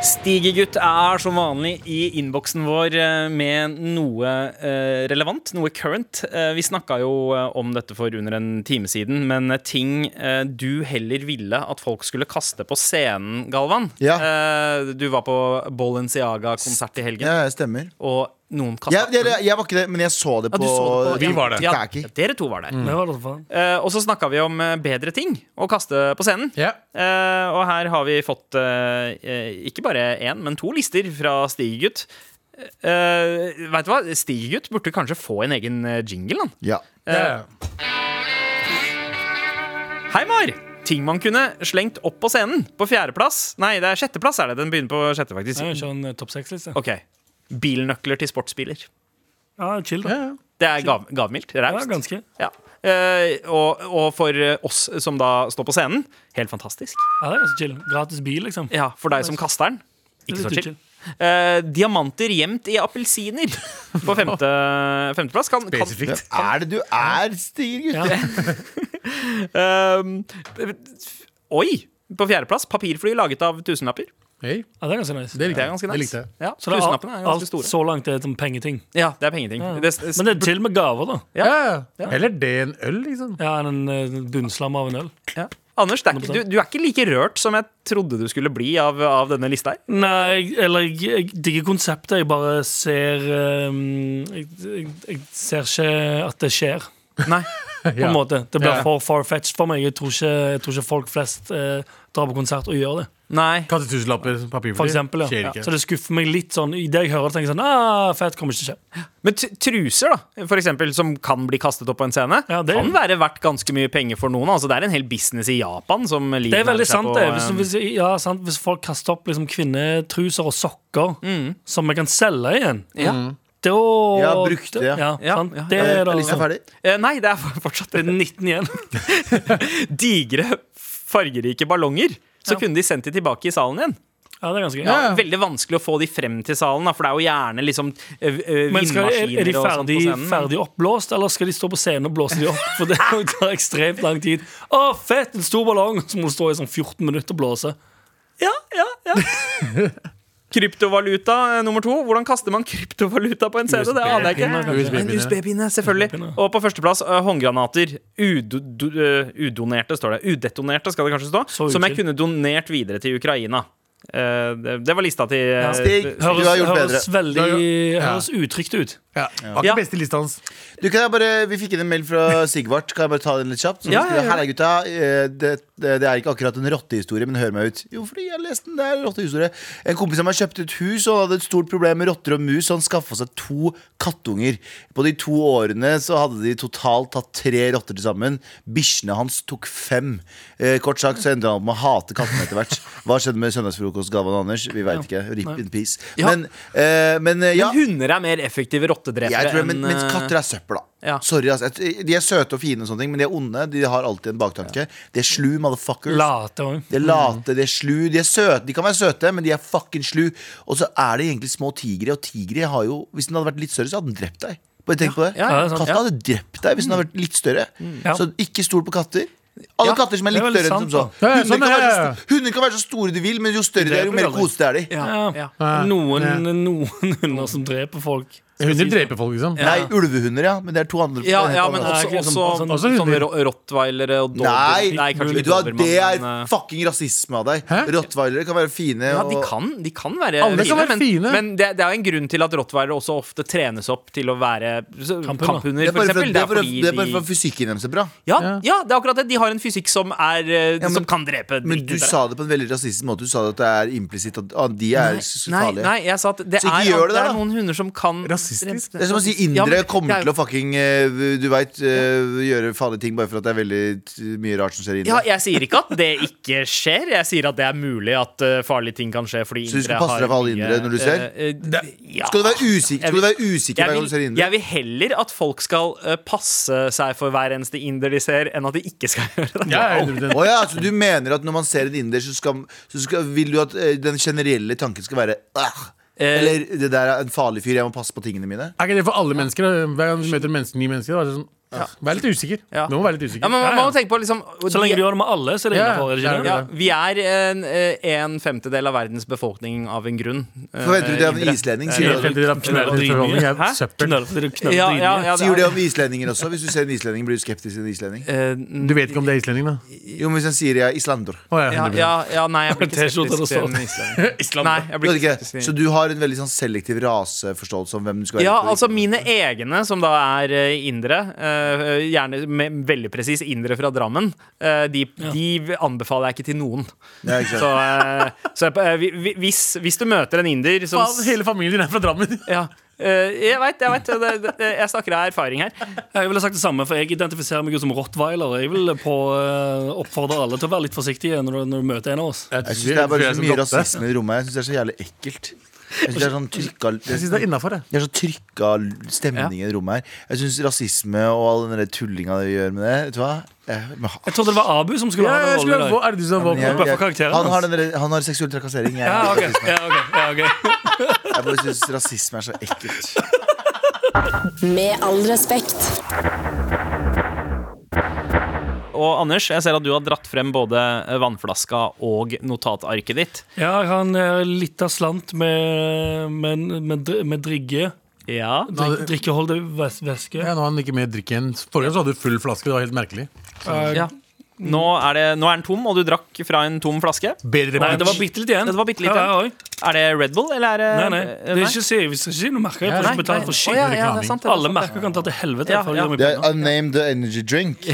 Speaker 4: Stigegutt er som vanlig i innboksen vår eh, med noe eh, relevant, noe current. Eh, Vi snakka jo eh, om dette for under en time siden, men eh, ting eh, du heller ville at folk skulle kaste på scenen, Galvan.
Speaker 3: Ja.
Speaker 4: Eh, Du var på Balenciaga-konsert i helgen,
Speaker 3: Ja, jeg stemmer.
Speaker 4: og noen kasta
Speaker 3: Jeg, jeg, jeg var ikke det, men jeg så det
Speaker 4: Ja,
Speaker 3: på,
Speaker 4: du så det på-
Speaker 5: Vi var der. Mm.
Speaker 4: Ja,
Speaker 3: Kaki.
Speaker 4: dere to var der.
Speaker 2: Det var det for faen.
Speaker 4: Eh, og så snakka vi om eh, bedre ting å kaste på scenen.
Speaker 5: Ja.
Speaker 4: Eh, og her har vi fått eh, eh, ikke bare én, men to lister fra Stigegutt. Uh, vet du hva? Stigegutt burde kanskje få en egen eh, jingle. Han.
Speaker 3: Ja.
Speaker 5: Ja.
Speaker 4: Hei, Mar! Ting man kunne slengt opp på scenen. På fjerdeplass. Nei, det er sjetteplass. er det Den begynner på sjette, faktisk.
Speaker 2: Jeg kjører en eh, topp seks-liste.
Speaker 4: Ok, Bilnøkler til sportsbiler.
Speaker 2: Ja, chill, da.
Speaker 4: Det er gav, gavmildt.
Speaker 2: Ja,
Speaker 4: Raust.
Speaker 2: ganske.
Speaker 4: Ja. Eh, og, og for eh, oss som da står på scenen, helt fantastisk.
Speaker 2: Ja, det er ganske chill. Gratis bil, liksom.
Speaker 4: Ja, For deg som kaster den, ikke så chill. Eh, diamanter gjemt i appelsiner på femte, femteplass. Kan, kan,
Speaker 3: Hvem er det du er, Stiger, gutt?
Speaker 4: Eh, oi! På fjerdeplass papirfly laget av tusenlapper.
Speaker 5: Hei,
Speaker 2: Ja, det er ganske nice.
Speaker 5: det likte
Speaker 4: Det er
Speaker 5: jeg.
Speaker 4: ganske
Speaker 5: Det
Speaker 4: nice.
Speaker 5: likte jeg.
Speaker 4: Ja,
Speaker 2: Så det er alt,
Speaker 4: tusenlappene er ganske
Speaker 2: alt
Speaker 4: store.
Speaker 2: så langt er som pengeting.
Speaker 4: Ja, det er pengeting. Det,
Speaker 2: Men det er chill med gaver, da.
Speaker 4: Ja.
Speaker 5: Ja. Eller det enn øl, liksom.
Speaker 2: Ja, enn en eh, bunnslam av en øl.
Speaker 4: ja. Anders, det er ikke,
Speaker 2: 100%.
Speaker 4: du, du er ikke like rørt som jeg trodde du skulle bli av, av denne lista her.
Speaker 2: Nei, eller jeg, jeg digger konseptet. Jeg bare ser ehm, jeg, jeg, jeg ser ikke at det skjer,
Speaker 4: Nei.
Speaker 2: på en
Speaker 5: Ja.
Speaker 2: måte. Det blir
Speaker 5: Ja.
Speaker 2: for far-fetched for meg. Jeg tror ikke, jeg tror ikke folk flest eh, drar på konsert og gjør det.
Speaker 4: Nei.
Speaker 5: Kaste tusenlapper, papirfly.
Speaker 2: For eksempel,
Speaker 5: Skjer
Speaker 2: ja.
Speaker 5: ikke.
Speaker 2: Så det skuffer meg litt sånn. I det jeg hører det, tenker jeg sånn ah, Fett, kommer ikke til å skje.
Speaker 4: Men t- truser, da, for eksempel, som kan bli kastet opp på en scene,
Speaker 2: Ja, det-
Speaker 4: kan være verdt ganske mye penger for noen. Altså, det er en hel business i Japan som
Speaker 2: Det er veldig sant,
Speaker 4: eh,
Speaker 2: det. Hvis, hvis, ja, sant, hvis folk kaster opp liksom, kvinnetruser og sokker som vi kan selge igjen,
Speaker 4: Mm. ja.
Speaker 2: da
Speaker 3: Ja, brukte, ja.
Speaker 2: Ja,
Speaker 4: Ja,
Speaker 2: sant?
Speaker 4: ja,
Speaker 2: Det
Speaker 3: Er
Speaker 2: er da
Speaker 3: lista ferdig?
Speaker 4: Eh, Nei, det er fortsatt
Speaker 2: Det er 19 igjen.
Speaker 4: digre, fargerike ballonger. Så
Speaker 2: Ja.
Speaker 4: kunne de sendt de tilbake i salen igjen.
Speaker 2: Ja, det er ganske gøy.
Speaker 4: Ja, Veldig vanskelig å få de frem til salen, da, for det er jo gjerne liksom ø- ø,
Speaker 2: Men skal, er, er de
Speaker 4: vindmaskiner og sånt
Speaker 2: ferdig,
Speaker 4: på scenen.
Speaker 2: ferdig oppblåst, eller skal de stå på scenen og blåse de opp? For det tar ekstremt lang tid. Å, fett! En stor ballong! Så må du stå i sånn 14 minutter og blåse.
Speaker 4: Ja, ja, ja. Kryptovaluta eh, nummer to. Hvordan kaster man kryptovaluta på en CD? Det aner jeg
Speaker 5: USB-pinner,
Speaker 4: ikke.
Speaker 5: kanskje.
Speaker 4: En USB-pinne, selvfølgelig. Og på førsteplass eh, håndgranater. Udo- do- eh, Udonerte, står det. Udetonerte, skal det kanskje
Speaker 2: Så
Speaker 4: stå. Som jeg
Speaker 2: utkild.
Speaker 4: kunne donert videre til Ukraina. Eh, Det det var lista til eh,
Speaker 3: Stig, du
Speaker 2: Høres,
Speaker 3: har gjort bedre.
Speaker 2: høres veldig
Speaker 5: Ja.
Speaker 2: Høres utrygt ut.
Speaker 5: Ja. Var
Speaker 4: Ja.
Speaker 5: ikke best i lista hans.
Speaker 3: Du, kan jeg bare, vi fikk inn en mail fra Sigvart. Kan jeg bare ta den litt kjapt? Som
Speaker 4: Ja, ja, ja.
Speaker 3: skriver, Hei, gutta. eh, Det, det, det er ikke akkurat en rottehistorie, men hør meg ut. Jo, fordi jeg leste den. Det er en rottehistorie. En kompis av meg kjøpte et hus, og han hadde et stort problem med rotter og mus, så han skaffa seg to kattunger. På de to årene så hadde de totalt tatt tre rotter til sammen. Bikkjene hans tok fem. Eh, kort sagt så endte han opp med å hate kattene etter hvert. Hva skjedde med søndagsfrokost, Galvan og Anders? Vi veit ikke. Rip in peace. Men, eh, men eh, ja.
Speaker 4: Men hunder er mer effektive
Speaker 3: Jeg
Speaker 4: rottedrepere
Speaker 3: tror, men,
Speaker 4: enn
Speaker 3: men
Speaker 4: eh,
Speaker 3: katter er søppel, da.
Speaker 4: ja.
Speaker 3: Sorry, ass. Jeg- De er søte og fine, og sånne ting men de er onde. De har alltid en baktanke. De er slu motherfuckers.
Speaker 2: Late òg.
Speaker 3: De er late, de er slu. De er søte, de kan være søte, men de er fucking slu. Og så er det egentlig små tigre, og tigre har jo Hvis den hadde vært litt større, så hadde den drept deg. Bare tenk på det.
Speaker 4: ja, ja, sant.
Speaker 3: Katta
Speaker 4: Ja.
Speaker 3: hadde drept deg hvis den hadde vært litt større.
Speaker 2: Ja.
Speaker 3: Så ikke stol på katter. Alle
Speaker 4: Ja,
Speaker 3: katter som er litt
Speaker 2: det er veldig
Speaker 3: større enn som så.
Speaker 2: sant,
Speaker 5: Ja, ja,
Speaker 3: Hunder
Speaker 5: sånn,
Speaker 3: kan
Speaker 5: ja,
Speaker 3: være
Speaker 5: ja,
Speaker 3: så
Speaker 5: ja.
Speaker 3: st- Hunder kan være så store de vil, men jo større de er, jo
Speaker 2: dreper
Speaker 3: mer
Speaker 2: aldri.
Speaker 3: kosete er de.
Speaker 4: ja,
Speaker 2: Ja.
Speaker 4: ja.
Speaker 2: Noen, noen hunder som dreper folk.
Speaker 5: Hunder dreper folk, liksom.
Speaker 3: Nei, ulvehunder, ja, men det er to andre
Speaker 4: Ja, ja, men
Speaker 2: Ja,
Speaker 4: også,
Speaker 2: ikke
Speaker 4: også,
Speaker 2: sånn-
Speaker 4: sånn-
Speaker 5: også
Speaker 4: sånne
Speaker 5: hunder.
Speaker 4: ro- rottweilere og dober.
Speaker 3: Nei,
Speaker 4: kanskje
Speaker 3: vet
Speaker 4: ikke
Speaker 3: du hva,
Speaker 4: dobermann,
Speaker 3: det er
Speaker 4: men, eh,
Speaker 3: fucking rasisme av deg.
Speaker 5: Hæ?
Speaker 3: Rottweilere kan være fine.
Speaker 4: ja,
Speaker 3: og-
Speaker 4: de kan, de kan være
Speaker 5: Alle
Speaker 4: fine,
Speaker 5: kan være
Speaker 4: men,
Speaker 5: fine.
Speaker 4: men det, det er jo en grunn til at rottweilere også ofte trenes opp til å være så-
Speaker 2: Kamphunder.
Speaker 4: kamphunder,
Speaker 3: det er
Speaker 4: for
Speaker 3: bare for,
Speaker 4: eksempel.
Speaker 3: det er for, det er bare
Speaker 4: de-
Speaker 3: for fysikken deres er bra.
Speaker 4: ja, ja, det er akkurat det. De har en fysikk som, er, eh, som kan drepe.
Speaker 3: Men
Speaker 4: dritten
Speaker 3: du
Speaker 4: ut av
Speaker 3: sa det på en veldig rasistisk måte. Du sa at det er implisitt at ah, de er s-
Speaker 4: deg. Nei,
Speaker 3: farlige.
Speaker 4: nei, jeg sa at det,
Speaker 3: Så ikke
Speaker 4: er,
Speaker 3: gjør det
Speaker 4: det
Speaker 3: der,
Speaker 4: er
Speaker 3: da.
Speaker 4: noen hunder som kan
Speaker 5: Rasistisk.
Speaker 3: Det er som å si indre kommer til å fucking eh, Du veit gjøre farlige ting bare for at det er veldig t- mye rart som skjer i
Speaker 4: Ja,
Speaker 3: India.
Speaker 4: jeg sier ikke at det ikke skjer. Jeg sier at det er mulig at eh, farlige ting kan skje. Fordi
Speaker 3: Så du skal
Speaker 4: indre
Speaker 3: passe
Speaker 4: har
Speaker 3: deg for alle
Speaker 4: mye,
Speaker 3: indre når du ser?
Speaker 4: eh, eh, ja.
Speaker 3: Skal du være usikker, skal du være usikker hver
Speaker 4: jeg
Speaker 3: gang du ser
Speaker 4: vil,
Speaker 3: indre?
Speaker 4: jeg vil heller at folk skal eh, passe seg for hver eneste inder de ser, enn at de ikke skal gjøre det.
Speaker 5: Ja, jeg er enig
Speaker 3: Å
Speaker 5: med den.
Speaker 3: ja, så du mener at når man ser en inder, så, skal, så skal, vil du at eh, den generelle tanken skal være «Ah,
Speaker 4: Eh,
Speaker 3: Eller det der er en farlig fyr, jeg må passe på tingene mine?
Speaker 5: Er ikke det for alle mennesker? da? Hver gang du møter mennesker, nye mennesker, da er det sånn Vær litt usikker.
Speaker 4: Ja.
Speaker 5: Vi må være litt usikker.
Speaker 4: Ja, men man,
Speaker 2: Ja,
Speaker 4: man
Speaker 2: ja.
Speaker 4: må tenke på liksom
Speaker 2: Så lenge du gjør det med alle, så er det
Speaker 5: Ja,
Speaker 2: innafor.
Speaker 5: det er
Speaker 2: Ja,
Speaker 5: det.
Speaker 4: ja, Vi er en, eh, en femtedel av verdens befolvning av en grunn. Eh,
Speaker 3: Forventer du det av en
Speaker 4: Indre.
Speaker 3: islending?
Speaker 5: Jeg
Speaker 3: Sier
Speaker 5: er
Speaker 3: du-
Speaker 5: helt i den
Speaker 2: Knøller
Speaker 5: knøllete forholdningen. Jeg er
Speaker 7: Hæ?
Speaker 5: søppel.
Speaker 2: Knøller fordi du knøller
Speaker 4: Ja, ja,
Speaker 2: dritmye.
Speaker 4: ja,
Speaker 3: Sier du det
Speaker 4: er-
Speaker 3: om islendinger også? Hvis du ser en islending, blir du skeptisk til en islending?
Speaker 4: Eh,
Speaker 5: Du vet ikke om det er islending, da?
Speaker 3: Jo, men hvis han sier jeg er islander
Speaker 5: Å, ja,
Speaker 4: ja,
Speaker 5: 100%.
Speaker 4: ja, ja, nei, jeg blir ikke
Speaker 2: T-skjorte
Speaker 4: skeptisk til
Speaker 2: og
Speaker 4: en islending.
Speaker 2: Island.
Speaker 4: Nei, jeg
Speaker 3: Du
Speaker 4: blir
Speaker 3: vet
Speaker 4: ikke
Speaker 3: ikke, Så
Speaker 4: skeptisk til
Speaker 3: du har en veldig sånn selektiv raseforståelse om hvem du skal være?
Speaker 4: ja,
Speaker 3: for-
Speaker 4: altså mine egne, som da er eh, indre, eh, gjerne med, veldig presis indre fra Drammen, eh, de, de anbefaler jeg ikke til noen.
Speaker 3: Ja, ikke sant?
Speaker 4: Så, eh, så jeg, eh, vi- vi- hvis, hvis du møter en inder som
Speaker 5: Faen, hele familien din er fra Drammen.
Speaker 4: ja, eh, Jeg veit, jeg veit. det- det- Jeg snakker av erfaring her.
Speaker 2: Jeg ville sagt det samme, for jeg identifiserer meg jo som rottweiler. Jeg vil på, eh, oppfordre alle til å være litt forsiktige når du, når du møter en av oss.
Speaker 3: Jeg synes det er bare så mye rasisme i rommet. Jeg synes det er så jævlig ekkelt. Jeg synes det er sånn trykka
Speaker 5: Jeg syns det er innafor, jeg.
Speaker 3: det er så trykka stemning i det rommet her. Jeg syns rasisme og all den der tullinga vi gjør med det Vet du hva? Jeg, men,
Speaker 2: Jeg trodde det var Abu som skulle
Speaker 5: Ja,
Speaker 2: ha
Speaker 5: jeg
Speaker 2: den
Speaker 5: skulle
Speaker 2: rollen i
Speaker 5: ha-
Speaker 2: dag.
Speaker 5: er det du som har
Speaker 3: jeg,
Speaker 5: våpen?
Speaker 2: Bare for karakteren
Speaker 3: han, har
Speaker 2: hans.
Speaker 3: den der, han har seksuell trakassering. Jeg,
Speaker 2: Ja, ok,
Speaker 3: rasisme.
Speaker 2: ja, ok, ja, ok.
Speaker 3: jeg bare syns rasisme er så ekkelt.
Speaker 6: Med all respekt.
Speaker 7: Og Anders, jeg ser at du har dratt frem både vannflaska og notatarket ditt.
Speaker 2: Ja, jeg har en eh, lita slant med, med, med, dr- med drigge.
Speaker 7: Ja
Speaker 2: Drik, drikkeholdig væs- væske.
Speaker 5: Ja, nå er han ikke med i drikken. Forrige gang så hadde du full flaske. Det var helt merkelig.
Speaker 2: Eh,
Speaker 7: Ja. Nå er, det, nå er den tom, og du drakk fra en tom flaske.
Speaker 2: Nei,
Speaker 5: Bedre replikk.
Speaker 2: det var bitte litt igjen.
Speaker 7: Det var bitte litt
Speaker 2: Ja, ja, ja.
Speaker 7: Er det Red Bull, eller er det
Speaker 2: Nei, nei.
Speaker 7: eh,
Speaker 2: Det er ikke, si- vi skal ikke si noe merke. Jeg får
Speaker 5: Nei,
Speaker 2: ikke betalt
Speaker 7: Å,
Speaker 2: for
Speaker 7: ja,
Speaker 2: shit.
Speaker 7: ja, det er sant, det er
Speaker 2: Alle
Speaker 7: sant.
Speaker 2: merker kan ta til helvete.
Speaker 7: Ja,
Speaker 2: for å
Speaker 7: ja.
Speaker 2: gjøre meg
Speaker 3: Det er
Speaker 2: penger.
Speaker 3: unnamed energy drink.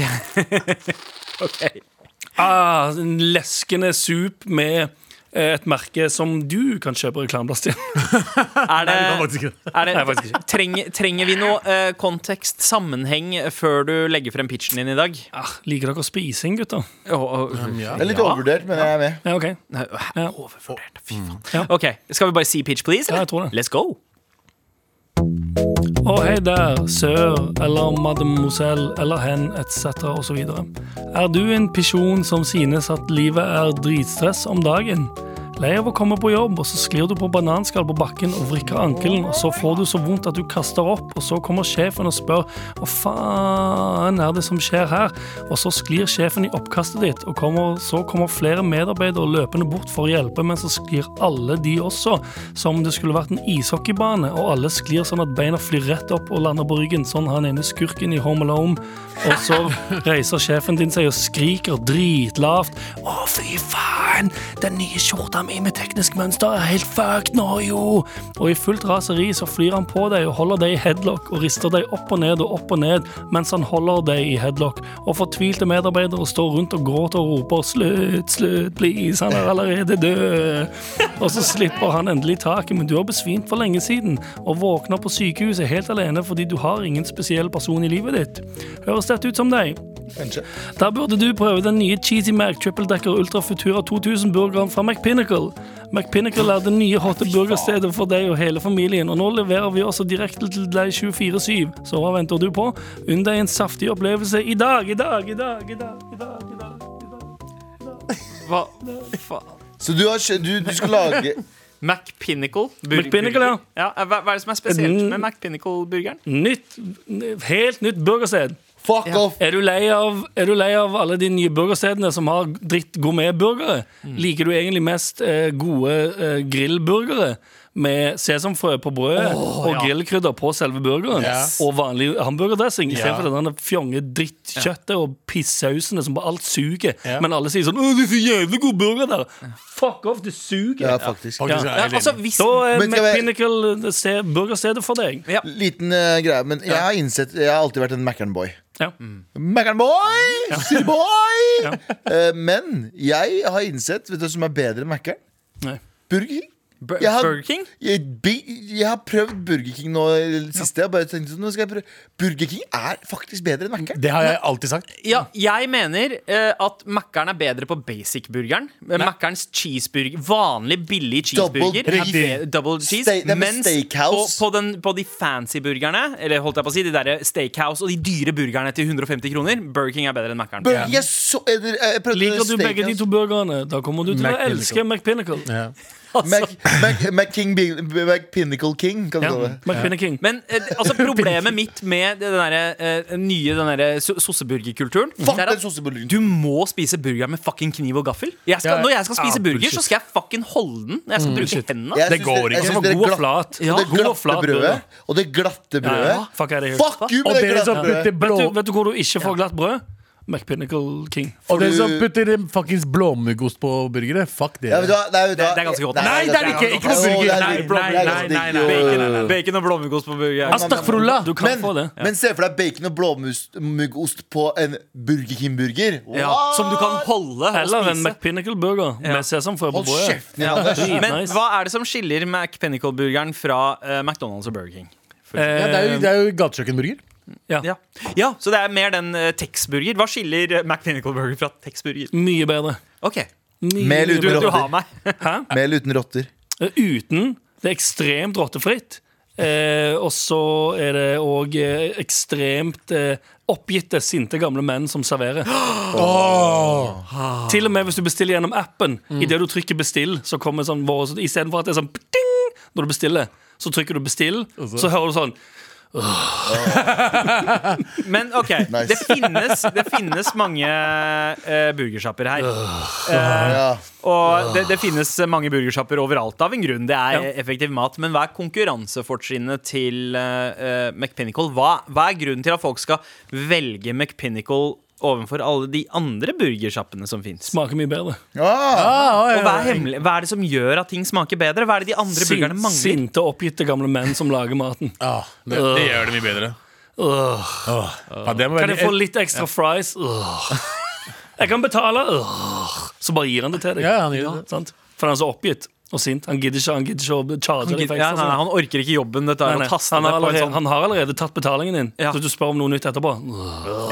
Speaker 2: Ah, en leskende sup med eh, et merke som du kan kjøpe reklameplass til.
Speaker 7: Er
Speaker 5: Det var
Speaker 7: det,
Speaker 5: faktisk ikke det.
Speaker 7: er
Speaker 2: Nei,
Speaker 7: det
Speaker 2: faktisk ikke.
Speaker 7: trenger, trenger vi noe eh, kontekst, sammenheng, før du legger frem pitchen din i dag?
Speaker 2: Ah, liker dere spising, gutter?
Speaker 7: Å, å,
Speaker 4: Um,
Speaker 3: Det er litt overvurdert, men jeg er med.
Speaker 2: Ja, OK.
Speaker 7: nei, hæ?
Speaker 2: Ja.
Speaker 7: Overvurdert. Fy faen.
Speaker 5: mm.
Speaker 7: OK, skal vi bare si pitch, please?
Speaker 2: Ja,
Speaker 7: eller?
Speaker 2: jeg tror det.
Speaker 7: Let's go.
Speaker 2: Å hei der, sør eller mademoiselle eller hen etc. osv. Er du en pisjon som synes at livet er dritstress om dagen? Lei av å komme på jobb, og så sklir du på bananskall på bakken og vrikker ankelen, og så får du så vondt at du kaster opp, og så kommer sjefen og spør hva faen er det som skjer her, og så sklir sjefen i oppkastet ditt, og kommer, så kommer flere medarbeidere løpende bort for å hjelpe, men så sklir alle de også, som om det skulle vært en ishockeybane, og alle sklir sånn at beina flyr rett opp og lander på ryggen, sånn han ene skurken i Home Alone. Og så reiser sjefen din seg og skriker dritlavt. Å, fy faen! Den nye skjorta mi med teknisk mønster er helt fucked nå, jo! Og i fullt raseri så flyr han på deg og holder deg i headlock og rister deg opp og ned og opp og ned mens han holder deg i headlock. Og fortvilte medarbeidere står rundt og gråter og roper 'slutt, slutt, please, han er allerede død'. Og så slipper han endelig taket, men du har besvimt for lenge siden og våkner på sykehuset helt alene fordi du har ingen spesiell person i livet ditt. Høres dette ut som deg? Der burde du prøve den nye Cheesy Mac Triple Decker Ultra Futura 2000-burgeren fra McPinnacle. McPinnacle er det nye hotte burgerstedet for deg og hele familien, og nå leverer vi også direkte til deg 24-7. Så hva venter du på? Unn deg en saftig opplevelse i dag, i dag, i dag, i dag, i dag. i dag.
Speaker 4: Hva faen?
Speaker 3: Så du, har, skjø- du, du skal lage
Speaker 4: Mac Pinnacle.
Speaker 2: McPinnacle, ja.
Speaker 4: hva, hva er det som er spesielt med Mac Pinnacle-burgeren?
Speaker 2: Nytt, helt nytt burgersted.
Speaker 3: Fuck off!
Speaker 2: Er du lei av, er du lei av alle de nye burgerstedene som har dritt gourmetburgere? Liker du egentlig mest eh, gode eh, grillburgere med sesamfrø på brødet og grillkrydder på selve burgeren? Og vanlig hamburgerdressing istedenfor denne fjonge drittkjøttet og pissausene som bare alt suger. Men alle sier sånn 'Å, det er så jævlig god burger der'. Fuck off, det suger.
Speaker 3: Ja, faktisk.
Speaker 5: Faktisk, jeg er
Speaker 4: Ja,
Speaker 5: helt
Speaker 4: altså,
Speaker 5: enig.
Speaker 4: hvis,
Speaker 2: Da er
Speaker 3: eh, Men skal jeg-
Speaker 2: McPinnacle eh, se- burgerstedet for deg.
Speaker 3: Liten eh, greie, men jeg har innsett Jeg har alltid vært en Mækkern-boy.
Speaker 2: Ja.
Speaker 3: Mækkern-boy! Silboy! Eh, men jeg har innsett Vet du hva som er bedre enn Mækkern?
Speaker 2: Nei.
Speaker 3: Burger King.
Speaker 4: Bur-
Speaker 3: Jeg har-
Speaker 4: Burger King?
Speaker 3: Jeg, bi- jeg har prøvd Burger King nå i det siste. Jeg bare tenkte sånn, nå skal jeg prøve. Burger King er faktisk bedre enn Mækkern.
Speaker 5: Det har jeg alltid sagt.
Speaker 4: Ja, jeg mener eh, at Mækkern er bedre på basic-burgeren. Mækkerns cheeseburger, vanlig billig cheeseburger,
Speaker 3: Double
Speaker 4: er
Speaker 3: beef.
Speaker 4: be- double cheese.
Speaker 3: Ste- det er med
Speaker 4: mens på,
Speaker 3: steakhouse.
Speaker 4: på, den, på de fancy burgerne, eller holdt jeg på å si, de der steakhouse og de dyre burgerne til 150 kroner, Burger King er bedre enn Mækkern.
Speaker 3: Burger King er så jeg, jeg prøvde
Speaker 2: Liker du
Speaker 3: steak,
Speaker 2: begge de
Speaker 3: altså.
Speaker 2: to burgerne, da kommer du til å
Speaker 5: McPinnacle.
Speaker 2: elske McPinnacle.
Speaker 5: Ja.
Speaker 3: Mac, Mac, Mac, King, Bin- Mac Pinnacle King, kan du
Speaker 2: Ja.
Speaker 3: kalle det.
Speaker 2: McPinner King.
Speaker 4: Men eh, altså problemet mitt med den derre, eh, nye den derre so- sosseburgerkulturen
Speaker 3: Fuck
Speaker 4: Mm. det er
Speaker 3: den
Speaker 4: at
Speaker 3: sossebullen.
Speaker 4: Du må spise burger med fucking kniv og gaffel. Jeg skal,
Speaker 5: Ja,
Speaker 4: når jeg skal spise
Speaker 3: Ah,
Speaker 5: ja,
Speaker 4: burger,
Speaker 5: bullshit.
Speaker 4: så skal jeg fucking holde den. Jeg
Speaker 3: Mm,
Speaker 4: skal bruke hendene.
Speaker 3: Jeg
Speaker 5: Det
Speaker 3: syns
Speaker 5: går ikke.
Speaker 3: jeg
Speaker 2: Den
Speaker 3: syns
Speaker 2: var
Speaker 3: det
Speaker 2: god og
Speaker 3: glatt-
Speaker 2: flat.
Speaker 3: Og det
Speaker 2: God og flat
Speaker 3: glatte brødet. Og det glatte brødet.
Speaker 2: Ja, fuck er det helt-
Speaker 3: Fuck you
Speaker 5: Og
Speaker 3: med det
Speaker 5: dere som
Speaker 3: glatte brødet.
Speaker 5: putter blå
Speaker 2: Vet du, vet du hvor du ikke får glatt brød? McPinnacle King.
Speaker 5: Og dere som
Speaker 3: du-
Speaker 5: putter fuckings blåmuggost på burgere, fuck
Speaker 3: Ja, vet du
Speaker 5: dere.
Speaker 3: hva? Nei, vet du hva?
Speaker 4: Det- det er ganske godt.
Speaker 5: Nei, det er det ikke. Ikke på
Speaker 3: Jo, det er
Speaker 5: burger.
Speaker 3: digg.
Speaker 5: Nei,
Speaker 3: Det er
Speaker 5: nei, nei,
Speaker 4: Altså,
Speaker 3: ganske
Speaker 5: nei,
Speaker 3: digg, jo.
Speaker 5: nei.
Speaker 4: Bacon og blåmuggost på burger.
Speaker 5: Astaghfirullah.
Speaker 2: Du kan
Speaker 3: Men,
Speaker 2: få det.
Speaker 3: men se for deg bacon og blåmuggost på en Burger King-burger.
Speaker 4: Ja, som du kan holde og
Speaker 2: Eller en
Speaker 4: spise.
Speaker 2: McPinnacle burger med sesamfrø på
Speaker 3: Hold
Speaker 2: brødet.
Speaker 3: kjeften din, Anders.
Speaker 4: Men
Speaker 2: Nice.
Speaker 4: hva er det som skiller McPennicle-burgeren fra eh, McDonald's og Burger King?
Speaker 5: Ja, det er jo, det er jo gatekjøkkenburger.
Speaker 2: Eh, Ja.
Speaker 4: Ja. ja, så det er mer den uh, Tex-burger. Hva skiller eh, McPennicle-burger fra Tex-burger?
Speaker 2: Mye bedre.
Speaker 4: Ok,
Speaker 2: Mye,
Speaker 3: Mel
Speaker 2: mye
Speaker 3: uten
Speaker 4: du,
Speaker 2: bedre.
Speaker 4: du har meg.
Speaker 2: Hæ?
Speaker 3: Mel uten rotter.
Speaker 2: Eh, Uten. Det er ekstremt rottefritt. Eh, og så er det òg eh, ekstremt eh, oppgitte, sinte gamle menn som serverer. Ah. Til og med hvis du bestiller gjennom appen. Idet du trykker 'bestill', så kommer sånn vår så Istedenfor at det er sånn ding når du bestiller, så trykker du 'bestill', så hører du sånn
Speaker 4: Men ok,
Speaker 3: Nice.
Speaker 4: det, finnes, det finnes mange uh, burgersjapper her.
Speaker 3: Ja.
Speaker 4: Og det, det finnes mange burgersjapper overalt av en grunn. Det er
Speaker 2: Ja.
Speaker 4: effektiv mat. Men hva er konkurransefortrinnet til eh, eh, McPinnacle? Hva, hva er grunnen til at folk skal velge McPinnacle overfor alle de andre burgersjappene som fins?
Speaker 2: Smaker mye bedre.
Speaker 3: Ah,
Speaker 4: Og hva er, hemmelig- hva er det som gjør at ting smaker bedre? Hva er det de andre burgerne
Speaker 2: Sin-
Speaker 4: mangler?
Speaker 2: Sinte, oppgitte gamle menn som lager maten.
Speaker 5: det, gjør det mye bedre. det må
Speaker 2: Kan jeg få
Speaker 5: være
Speaker 2: litt ekstra fries? Åh. Jeg kan betale! Åh. Så bare gir han det til deg.
Speaker 5: Ja, han gir det.
Speaker 2: Sant? For han er så oppgitt og sint. Han gidder ikke, han gidder ikke å charge deg. i fengsel,
Speaker 4: Ja, nei,
Speaker 2: sånn.
Speaker 4: nei, han orker ikke jobben. Dette
Speaker 2: Nei,
Speaker 4: er
Speaker 2: nei.
Speaker 4: å taste
Speaker 2: han, har
Speaker 4: ned på en
Speaker 2: allerede,
Speaker 4: sånn
Speaker 2: han har allerede tatt betalingen din.
Speaker 4: Ja.
Speaker 2: Så du spør om noe nytt etterpå.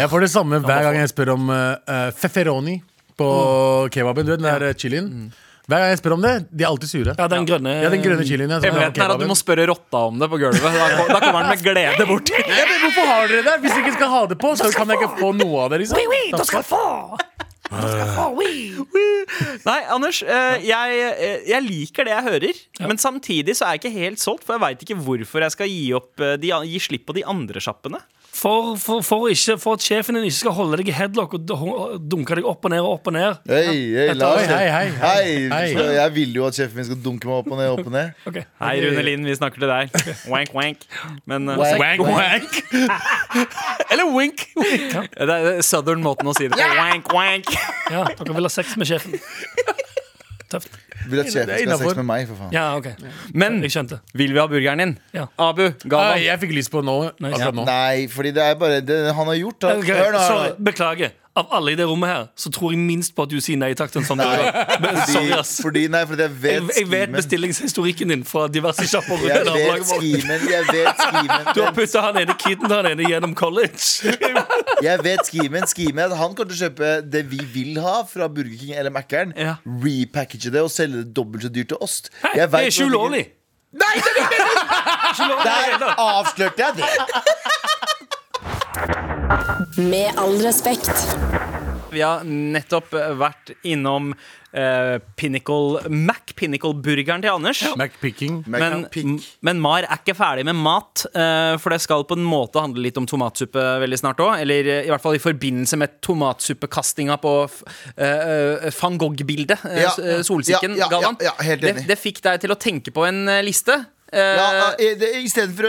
Speaker 5: Jeg får det samme hver gang jeg spør om uh, feferoni på kebaben. Du vet den der eh, chilien? Hver gang jeg spør om det, de er alltid sure.
Speaker 2: Ja, den grønne
Speaker 5: Ja, den grønne chilien. Ja, som er på
Speaker 4: Hemmeligheten er at du
Speaker 5: kebaben.
Speaker 4: må spørre rotta om det på gulvet. Da, kom- da kommer han med glede bort.
Speaker 5: ja, men Hvorfor har dere det? Hvis dere ikke skal ha det på, så kan jeg ikke få noe av det. liksom
Speaker 4: Nei, Anders, eh, jeg, eh, jeg liker det jeg hører. Men samtidig så er jeg ikke helt solgt, for jeg veit ikke hvorfor jeg skal gi, opp, eh, de, an- gi slipp på de andre sjappene.
Speaker 2: For, for, for, ikke, for at sjefen din ikke skal holde deg i headlock og d- dunke deg opp og ned og opp og ned.
Speaker 3: Hei, hei, la oss
Speaker 5: Oi, hei, hei, hei.
Speaker 3: Hei,
Speaker 5: Hei.
Speaker 3: så Jeg vil jo at sjefen min skal dunke meg opp og ned. Opp og ned.
Speaker 2: Ok.
Speaker 4: Hei, Rune Lind, vi snakker til deg. Wank, wank. Men, eh,
Speaker 3: Wank,
Speaker 4: wank, wank. Eller wink. Det er southern måten å si det på. Wank, wank.
Speaker 2: Ja, dere vil ha sex med sjefen. Tøft.
Speaker 3: Vil at sjefen skal ha
Speaker 5: innenfor.
Speaker 3: sex med meg, for faen.
Speaker 2: Ja, ok.
Speaker 4: Men
Speaker 2: Jeg skjønte.
Speaker 4: vil vi ha burgeren din?
Speaker 2: Ja.
Speaker 4: Abu,
Speaker 5: Nei,
Speaker 4: Galvan.
Speaker 5: Jeg fikk lyst på nå. Altså, Akkurat nå.
Speaker 3: Nei, fordi det er bare det han har gjort. Da.
Speaker 2: Ok,
Speaker 3: Hør nå, hør
Speaker 2: sorry,
Speaker 3: nå.
Speaker 2: beklager. Av alle i det rommet her, så tror jeg minst på at du sier nei takk til en sånn burger. Men Sorry,
Speaker 3: Fordi,
Speaker 2: ass.
Speaker 3: fordi, nei, fordi jeg
Speaker 2: Jeg,
Speaker 3: vet
Speaker 2: jeg vet
Speaker 3: skimen.
Speaker 2: bestillingshistorikken din fra diverse sjapper. rundt i
Speaker 3: Jeg vet
Speaker 2: nabolaget vårt.
Speaker 3: skimen. Jeg vet skimen.
Speaker 2: Du har putta han ene kiden han ene gjennom college.
Speaker 3: Jeg vet skimen, skimen Han kommer til å kjøpe det vi vil ha fra Burger King eller Mækkern.
Speaker 4: Ja.
Speaker 3: Repackage det og selge det dobbelt så dyrt til oss.
Speaker 2: Hei, det er ikke ulovlig.
Speaker 3: Nei, det er ikke ulovlig! Der avslørte jeg det.
Speaker 1: Med all respekt.
Speaker 4: Vi har nettopp eh, vært innom eh, Pinnacle Mac Pinnacle-burgeren til Anders.
Speaker 5: Macpicking.
Speaker 4: Men,
Speaker 3: Pick.
Speaker 4: men Mar er ikke ferdig med mat, eh, for det skal på en måte handle litt om tomatsuppe veldig snart òg. Eller eh, i hvert fall i forbindelse med tomatsuppekastinga på f- eh, eh, van Gogh-bildet. eh,
Speaker 3: Ja.
Speaker 4: s- eh, Solsikken,
Speaker 3: Ja, ja, ja,
Speaker 4: Galvan.
Speaker 3: ja, helt enig.
Speaker 4: Det, det fikk deg til å tenke på en eh, liste. Eh,
Speaker 3: Ja, eh, det- Istedenfor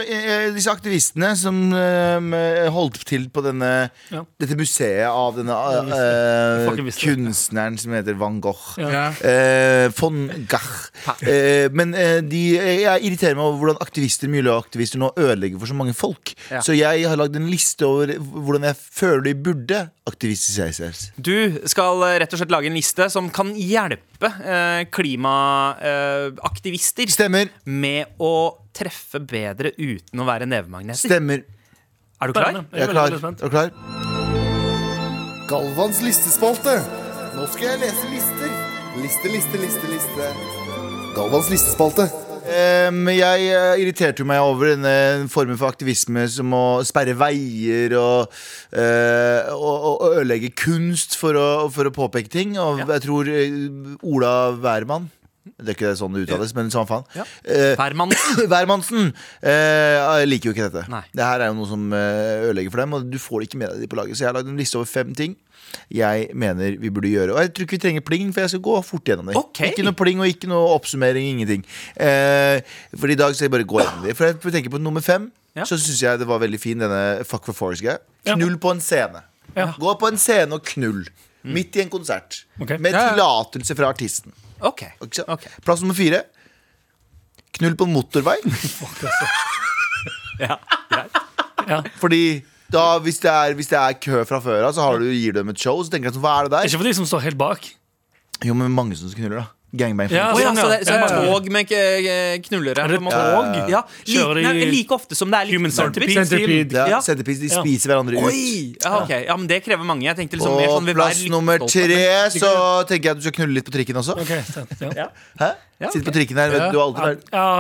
Speaker 3: disse aktivistene som eh, holdt til på denne,
Speaker 2: Ja.
Speaker 3: dette museet av denne eh, eh,
Speaker 2: Fucking visste det.
Speaker 3: kunstneren som heter van Gogh.
Speaker 5: Ja.
Speaker 3: Eh, von Gach. Eh, men eh, de, jeg irriterer meg over hvordan aktivister miljøaktivister nå ødelegger for så mange folk.
Speaker 4: Ja.
Speaker 3: Så jeg har lagd en liste over hvordan jeg føler de burde aktivisere seg selv.
Speaker 4: Du skal eh, rett og slett lage en liste som kan hjelpe eh, klimaaktivister
Speaker 3: Stemmer.
Speaker 4: med å treffe bedre uten å være nevemagneter.
Speaker 3: Stemmer.
Speaker 4: Er du klar?
Speaker 2: Spennende.
Speaker 3: Jeg er
Speaker 2: veldig,
Speaker 3: klar.
Speaker 2: veldig spent.
Speaker 3: Er du klar? Galvans listespalte. Nå skal jeg lese lister. Liste, liste, liste, liste. Galvans listespalte. jeg eh, irriterte jo meg over denne formen for aktivisme som å sperre veier og, eh, og, og- og ødelegge kunst for å, for å påpeke ting. Og jeg tror eh, Ola Wærmann Det er ikke sånn det uttales, men samme faen.
Speaker 4: Ja.
Speaker 3: Eh,
Speaker 4: Herman.
Speaker 3: Værmannsen eh, liker jo ikke dette.
Speaker 4: Nei.
Speaker 3: Det her er jo noe som eh, ødelegger for dem, og du får ikke med deg de på laget. Så jeg har lagd en liste over fem ting jeg mener vi burde gjøre. Og jeg tror ikke vi trenger pling, for jeg skal gå fort gjennom det.
Speaker 4: Ok.
Speaker 3: Ikke noe pling og ikke noe oppsummering, ingenting. Eh, for i dag skal jeg bare gå gjennom det. For jeg tenker på nummer fem.
Speaker 4: Ja.
Speaker 3: Så syns jeg det var veldig fin, denne Fuck for Forest-greia.
Speaker 2: Ja.
Speaker 3: Knull på en scene.
Speaker 2: Ja.
Speaker 3: Gå på en scene og knull. Midt i en konsert.
Speaker 2: Ok.
Speaker 3: Med
Speaker 5: Ja, ja.
Speaker 3: tillatelse fra artisten.
Speaker 4: Ok.
Speaker 3: Ikke sant?
Speaker 4: Ok.
Speaker 3: Plass nummer fire. Knull på en motorvei.
Speaker 4: altså. Ja.
Speaker 3: Fordi da, hvis, det er, hvis det er kø fra før av, så har du, gir du dem et show. Så tenker jeg sånn, hva er det der?
Speaker 2: Ikke for de som står helt bak.
Speaker 3: Jo, men mange som knuller, da. Gangbang.
Speaker 2: Ja,
Speaker 4: Å ja,
Speaker 2: sånn,
Speaker 4: så det er
Speaker 2: Ja,
Speaker 4: som
Speaker 2: ja, ja.
Speaker 4: tog med k- eh, knullere.
Speaker 2: Er det
Speaker 4: på en
Speaker 2: et
Speaker 4: måte.
Speaker 2: tog?
Speaker 4: Ja, li,
Speaker 2: Kjører de-
Speaker 4: nei, like ofte som det er litt
Speaker 2: Human centipede.
Speaker 5: Centipede.
Speaker 3: Ja,
Speaker 4: Ja.
Speaker 3: Centerpiece, de
Speaker 2: Ja.
Speaker 3: spiser hverandre ut.
Speaker 4: Oi! Ja, ok. ja, men det krever mange. Jeg tenkte liksom mer
Speaker 3: Og
Speaker 4: sånn vi
Speaker 3: plass
Speaker 4: litt
Speaker 3: nummer
Speaker 4: stolt av det.
Speaker 3: tre, så tenker jeg at du skal knulle litt på trikken også.
Speaker 2: Ok, stent, ja.
Speaker 3: Hæ? Sitte på trikken her, vet du, du har alltid vært
Speaker 2: Ja,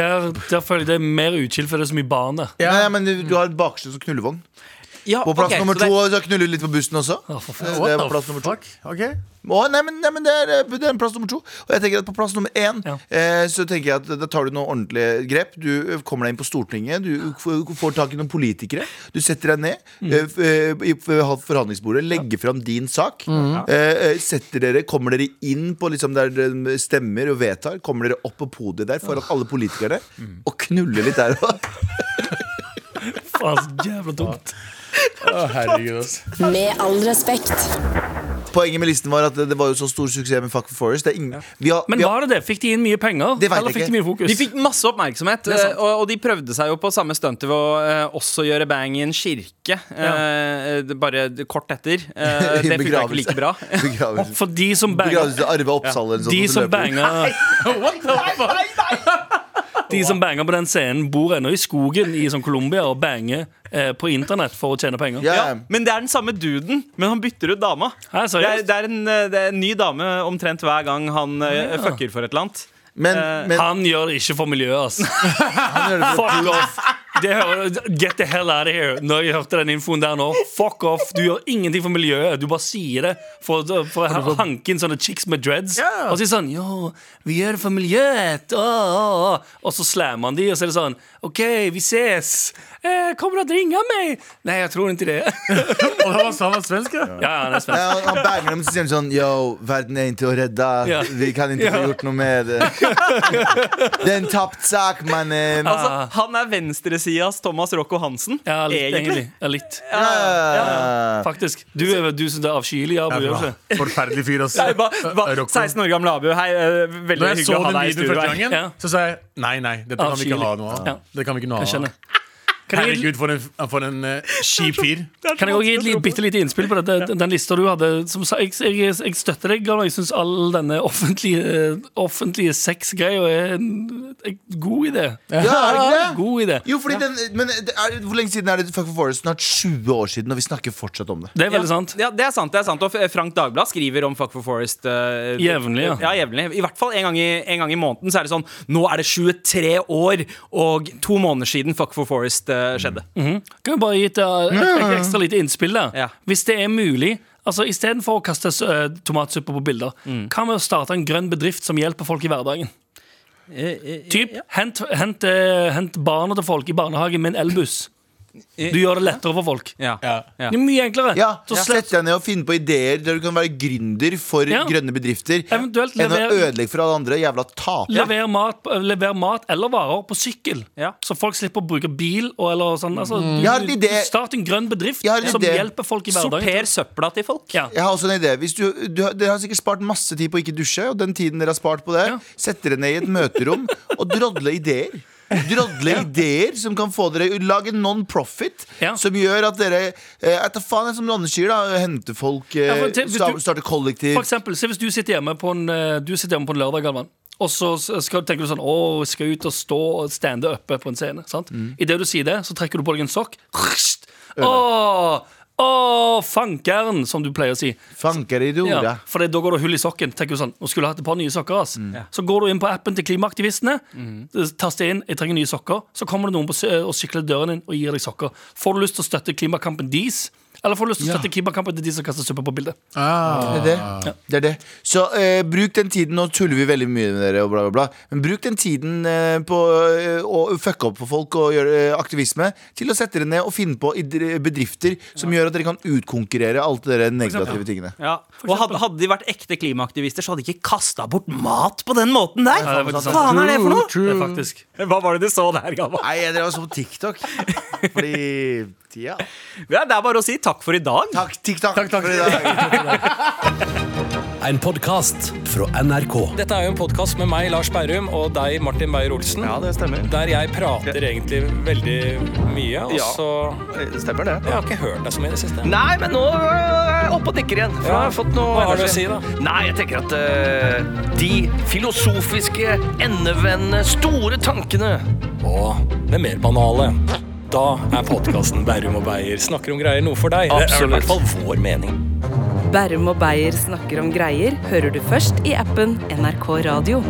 Speaker 2: der, der føler jeg det er mer utskilt, for det er så mye barn der.
Speaker 3: Nei, men du, du har et baksted som knullevogn.
Speaker 4: Ja,
Speaker 3: På plass
Speaker 4: ok,
Speaker 3: nummer
Speaker 4: så det
Speaker 3: to,
Speaker 4: er-
Speaker 3: så knuller du litt på bussen også.
Speaker 2: Å, for faen.
Speaker 3: Det
Speaker 5: What
Speaker 3: var
Speaker 5: the
Speaker 3: plass nummer to.
Speaker 5: fuck? Ok.
Speaker 3: Å, nei, men, nei, men det, er, det er en plass nummer to. Og jeg tenker at på plass nummer én
Speaker 2: Ja.
Speaker 3: eh, Så tenker jeg at da tar du noen ordentlige grep. Du eh, kommer deg inn på Stortinget, du får får tak i noen politikere. Du setter deg ned eh, f- eh, i f- forhandlingsbordet, legger fram din sak. Eh, eh, setter dere, Kommer dere inn på liksom der dere stemmer og vedtar? Kommer dere opp på podiet der foran alle politikerne og knuller litt der òg?
Speaker 2: Faen, så jævla dumt.
Speaker 5: Å, herregud, ass.
Speaker 6: Med all respekt.
Speaker 3: Poenget med listen var at det det var jo så stor suksess med Fuck for Forest. Det er ingen, vi har,
Speaker 2: Men
Speaker 3: vi har,
Speaker 2: var det det? Fikk de inn mye penger?
Speaker 3: Det vet jeg
Speaker 2: Eller fikk
Speaker 3: ikke.
Speaker 2: de mye fokus?
Speaker 4: De fikk masse oppmerksomhet, eh, og, og de prøvde seg jo på samme stuntet ved å eh, også gjøre bang i en kirke. eh, det- bare d- kort etter. Eh,
Speaker 3: I
Speaker 4: det funka ikke like bra.
Speaker 3: begravelse.
Speaker 2: For de som banga
Speaker 3: Begravelse til Arve Oppsal eller noe sånt,
Speaker 2: De
Speaker 3: og så
Speaker 2: som
Speaker 3: løper de.
Speaker 2: banger De som banger på den scenen, bor ennå i skogen i sånn Colombia og banger eh, på internett for å tjene penger.
Speaker 3: Ja,
Speaker 4: Ja, men det er den samme duden, men han bytter ut dama.
Speaker 2: Hæ,
Speaker 4: Det er,
Speaker 2: seriøst?
Speaker 4: det, er en, eh, det er en ny dame omtrent hver gang han eh, fucker for et eller annet.
Speaker 3: men,
Speaker 4: Eh,
Speaker 3: men
Speaker 2: Han gjør det ikke for miljøet, ass.
Speaker 3: han gjør det for
Speaker 2: Fuck off. Det hører, get the hell out of here. Når jeg hørte den infoen der nå, fuck off. Du gjør ingenting for miljøet. Du bare sier det for, for å hanke inn sånne chicks med dreads. Og så er det sånn Yo, vi gjør det for miljøet. Åh, åh, åh. Og så slammer han de, og så er det sånn OK, vi ses. Eh, kommer du til å ringe meg? Nei, jeg tror ikke det.
Speaker 5: Og han var, han var svensk, ja?
Speaker 2: Ja, ja, det er
Speaker 3: Ja,
Speaker 2: svensk.
Speaker 3: han- han banger dem så sier han sånn Yo, verden er ikke å redde.
Speaker 2: Ja.
Speaker 3: Vi kan ikke få
Speaker 2: Ja.
Speaker 3: gjort noe med det. Det er en tapt sak, mannen.
Speaker 4: Altså, han er venstresidas Thomas Rocco Hansen,
Speaker 2: Ah. Ja, litt,
Speaker 4: egentlig.
Speaker 2: egentlig. Ja, litt.
Speaker 3: Ja.
Speaker 2: Faktisk. Du, er- du som det er avskyelig, ja, gjør du
Speaker 5: Bra.
Speaker 2: ikke?
Speaker 5: Forferdelig fyr, ass.
Speaker 4: Nei, ba,
Speaker 2: Eh,
Speaker 4: ba,
Speaker 5: Rocco.
Speaker 4: 16 år gamle Abu, hei. eh, Veldig
Speaker 5: Når jeg
Speaker 4: hyggelig
Speaker 5: så
Speaker 4: å ha
Speaker 5: den
Speaker 4: deg i
Speaker 5: videoen
Speaker 4: studio.
Speaker 5: første
Speaker 4: her.
Speaker 5: gangen,
Speaker 2: Ja.
Speaker 5: så sa jeg nei, nei, dette kan vi ikke
Speaker 2: Avskyelig.
Speaker 5: ha noe av.
Speaker 2: Ja.
Speaker 5: Det kan vi ikke noe
Speaker 2: Jeg skjønner.
Speaker 5: av.
Speaker 2: Kan jeg,
Speaker 5: Herregud, for en, for en eh, kjip fyr.
Speaker 2: Kan jeg også gi et li- bitte lite innspill på dette? Den- Den lista du hadde som sa, jeg, jeg, jeg støtter deg, Galvan. Jeg syns all denne offentlige, eh, offentlige sexgreia er en en god idé.
Speaker 3: Ja, er det ikke det?
Speaker 2: God idé.
Speaker 3: Jo, fordi den, men det er, Hvor lenge siden er det Fuck for Forest? Snart 20 år siden, og vi snakker fortsatt om det.
Speaker 2: Det er
Speaker 4: Ja,
Speaker 2: veldig sant.
Speaker 4: Ja, det er sant. det er sant Og F- Frank Dagblad skriver om Fuck for Forest. eh,
Speaker 2: Jevnlig, ja.
Speaker 4: ja jevnlig. I hvert fall en gang i, en gang i måneden. Så er det sånn Nå er det 23 år og to måneder siden Fuck for Forest eh, skjedde.
Speaker 2: Mm. Kan jeg bare gi et, uh, et, et ekstra lite innspill der?
Speaker 4: Ja.
Speaker 2: Hvis det er mulig Altså, Istedenfor å kaste uh, tomatsuppe på bilder,
Speaker 4: Mm.
Speaker 2: hva med å starte en grønn bedrift som hjelper folk i hverdagen?
Speaker 4: Eh,
Speaker 2: Typ, hent, hent, eh, hent barna til folk i barnehagen med en elbuss. Du gjør det lettere for folk.
Speaker 4: Eh, Ja.
Speaker 2: Det er mye enklere.
Speaker 3: Ja,
Speaker 2: Så
Speaker 3: så
Speaker 2: slett-
Speaker 3: Sett deg ned og finn på ideer der du kan være gründer for
Speaker 2: Ja.
Speaker 3: grønne bedrifter.
Speaker 2: Eventuelt
Speaker 3: enn å
Speaker 2: lever-
Speaker 3: ødelegge for alle andre. Jævla taper.
Speaker 2: Lever mat, lever mat eller varer på sykkel,
Speaker 4: Ja.
Speaker 2: så folk slipper å bruke bil. Og, eller sånn, altså, du,
Speaker 3: Mm. Jeg har en idé.
Speaker 2: Start en grønn bedrift
Speaker 3: Jeg har en
Speaker 2: som
Speaker 3: idé.
Speaker 2: hjelper folk i hverdagen.
Speaker 4: Sorter søpla til folk.
Speaker 2: Ja.
Speaker 3: Jeg har også en idé. Hvis du, du, har- dere har sikkert spart masse tid på å ikke dusje. Og den tiden dere har spart på det,
Speaker 2: Ja.
Speaker 3: sett dere ned i et møterom og drodle ideer. Drodle ideer som kan få dere Lag en non-profit
Speaker 2: Ja.
Speaker 3: som gjør at dere eh, Etter faen, det er som Anders sier, da. Hente folk, eh,
Speaker 2: Ja, for til- hvis
Speaker 3: sta-
Speaker 2: du-
Speaker 3: starte kollektiv.
Speaker 2: For eksempel, se hvis du sitter hjemme på en, eh, du sitter hjemme på en lørdag, Galvan. Og så skal, tenker du sånn Å, skal jeg ut og stå og stande oppe på en scene. Sant?
Speaker 3: Mm.
Speaker 2: I det du sier det, så trekker du på deg en sokk. Å, å, fankeren, som du pleier å si.
Speaker 3: Fanker i jorda.
Speaker 2: Ja, for det, da går det hull i sokken. Tenker du sånn, nå skulle jeg hatt et par nye sokker ass. Så går du inn på appen til klimaaktivistene, taster inn 'jeg trenger nye eh, sokker', så kommer det noen på, sy- og sykler døren din og gir deg sokker. Får du lyst til å støtte klimakampen deres, Eller får lyst til å støtte klimakampen til de som kaster suppe på bildet.
Speaker 5: Ah.
Speaker 3: Det er det. det, er det. Så eh, bruk den tiden, nå tuller vi veldig mye med dere, og bla, bla, bla. Men bruk den tiden eh, på eh, å fucke opp for folk og gjøre eh, aktivisme til å sette dere ned og finne på idr- bedrifter som gjør at dere kan utkonkurrere alt det der negative tingene.
Speaker 4: Ja. Og hadde, hadde de vært ekte klimaaktivister, så hadde de ikke kasta bort mat på den måten der!
Speaker 2: Ja, det er
Speaker 4: Hva
Speaker 2: faktisk
Speaker 4: faen er det for noe?
Speaker 2: Det er faktisk
Speaker 4: Hva var det du så der, Galvan?
Speaker 3: Nei, jeg drev og så på TikTok. Fordi tida
Speaker 4: Ja, det er bare å si takk for i dag.
Speaker 3: Takk, TikTok, for i dag.
Speaker 8: En podkast fra NRK.
Speaker 9: Dette er jo en podkast med meg, Lars Berrum, og deg, Martin Beyer-Olsen.
Speaker 10: Ja, det stemmer.
Speaker 9: Der jeg prater egentlig veldig mye, og
Speaker 10: Ja. Eh,
Speaker 9: så
Speaker 10: Stemmer det.
Speaker 9: Jeg har ikke hørt deg så mye i det siste.
Speaker 4: Nei, men nå er jeg oppe og nikker igjen. For nå
Speaker 9: Ja.
Speaker 4: har jeg fått noe
Speaker 9: Hva har du å
Speaker 4: energi.
Speaker 9: si, da?
Speaker 4: Nei, jeg tenker at eh, de filosofiske, endevendende, store tankene
Speaker 9: Og det mer banale. Da er podkasten Berrum og Beyer snakker om greier noe for deg. Det er i
Speaker 4: Absolutt.
Speaker 9: hvert fall vår mening.
Speaker 1: Berrum og Beyer snakker om greier hører du først i appen NRK Radio.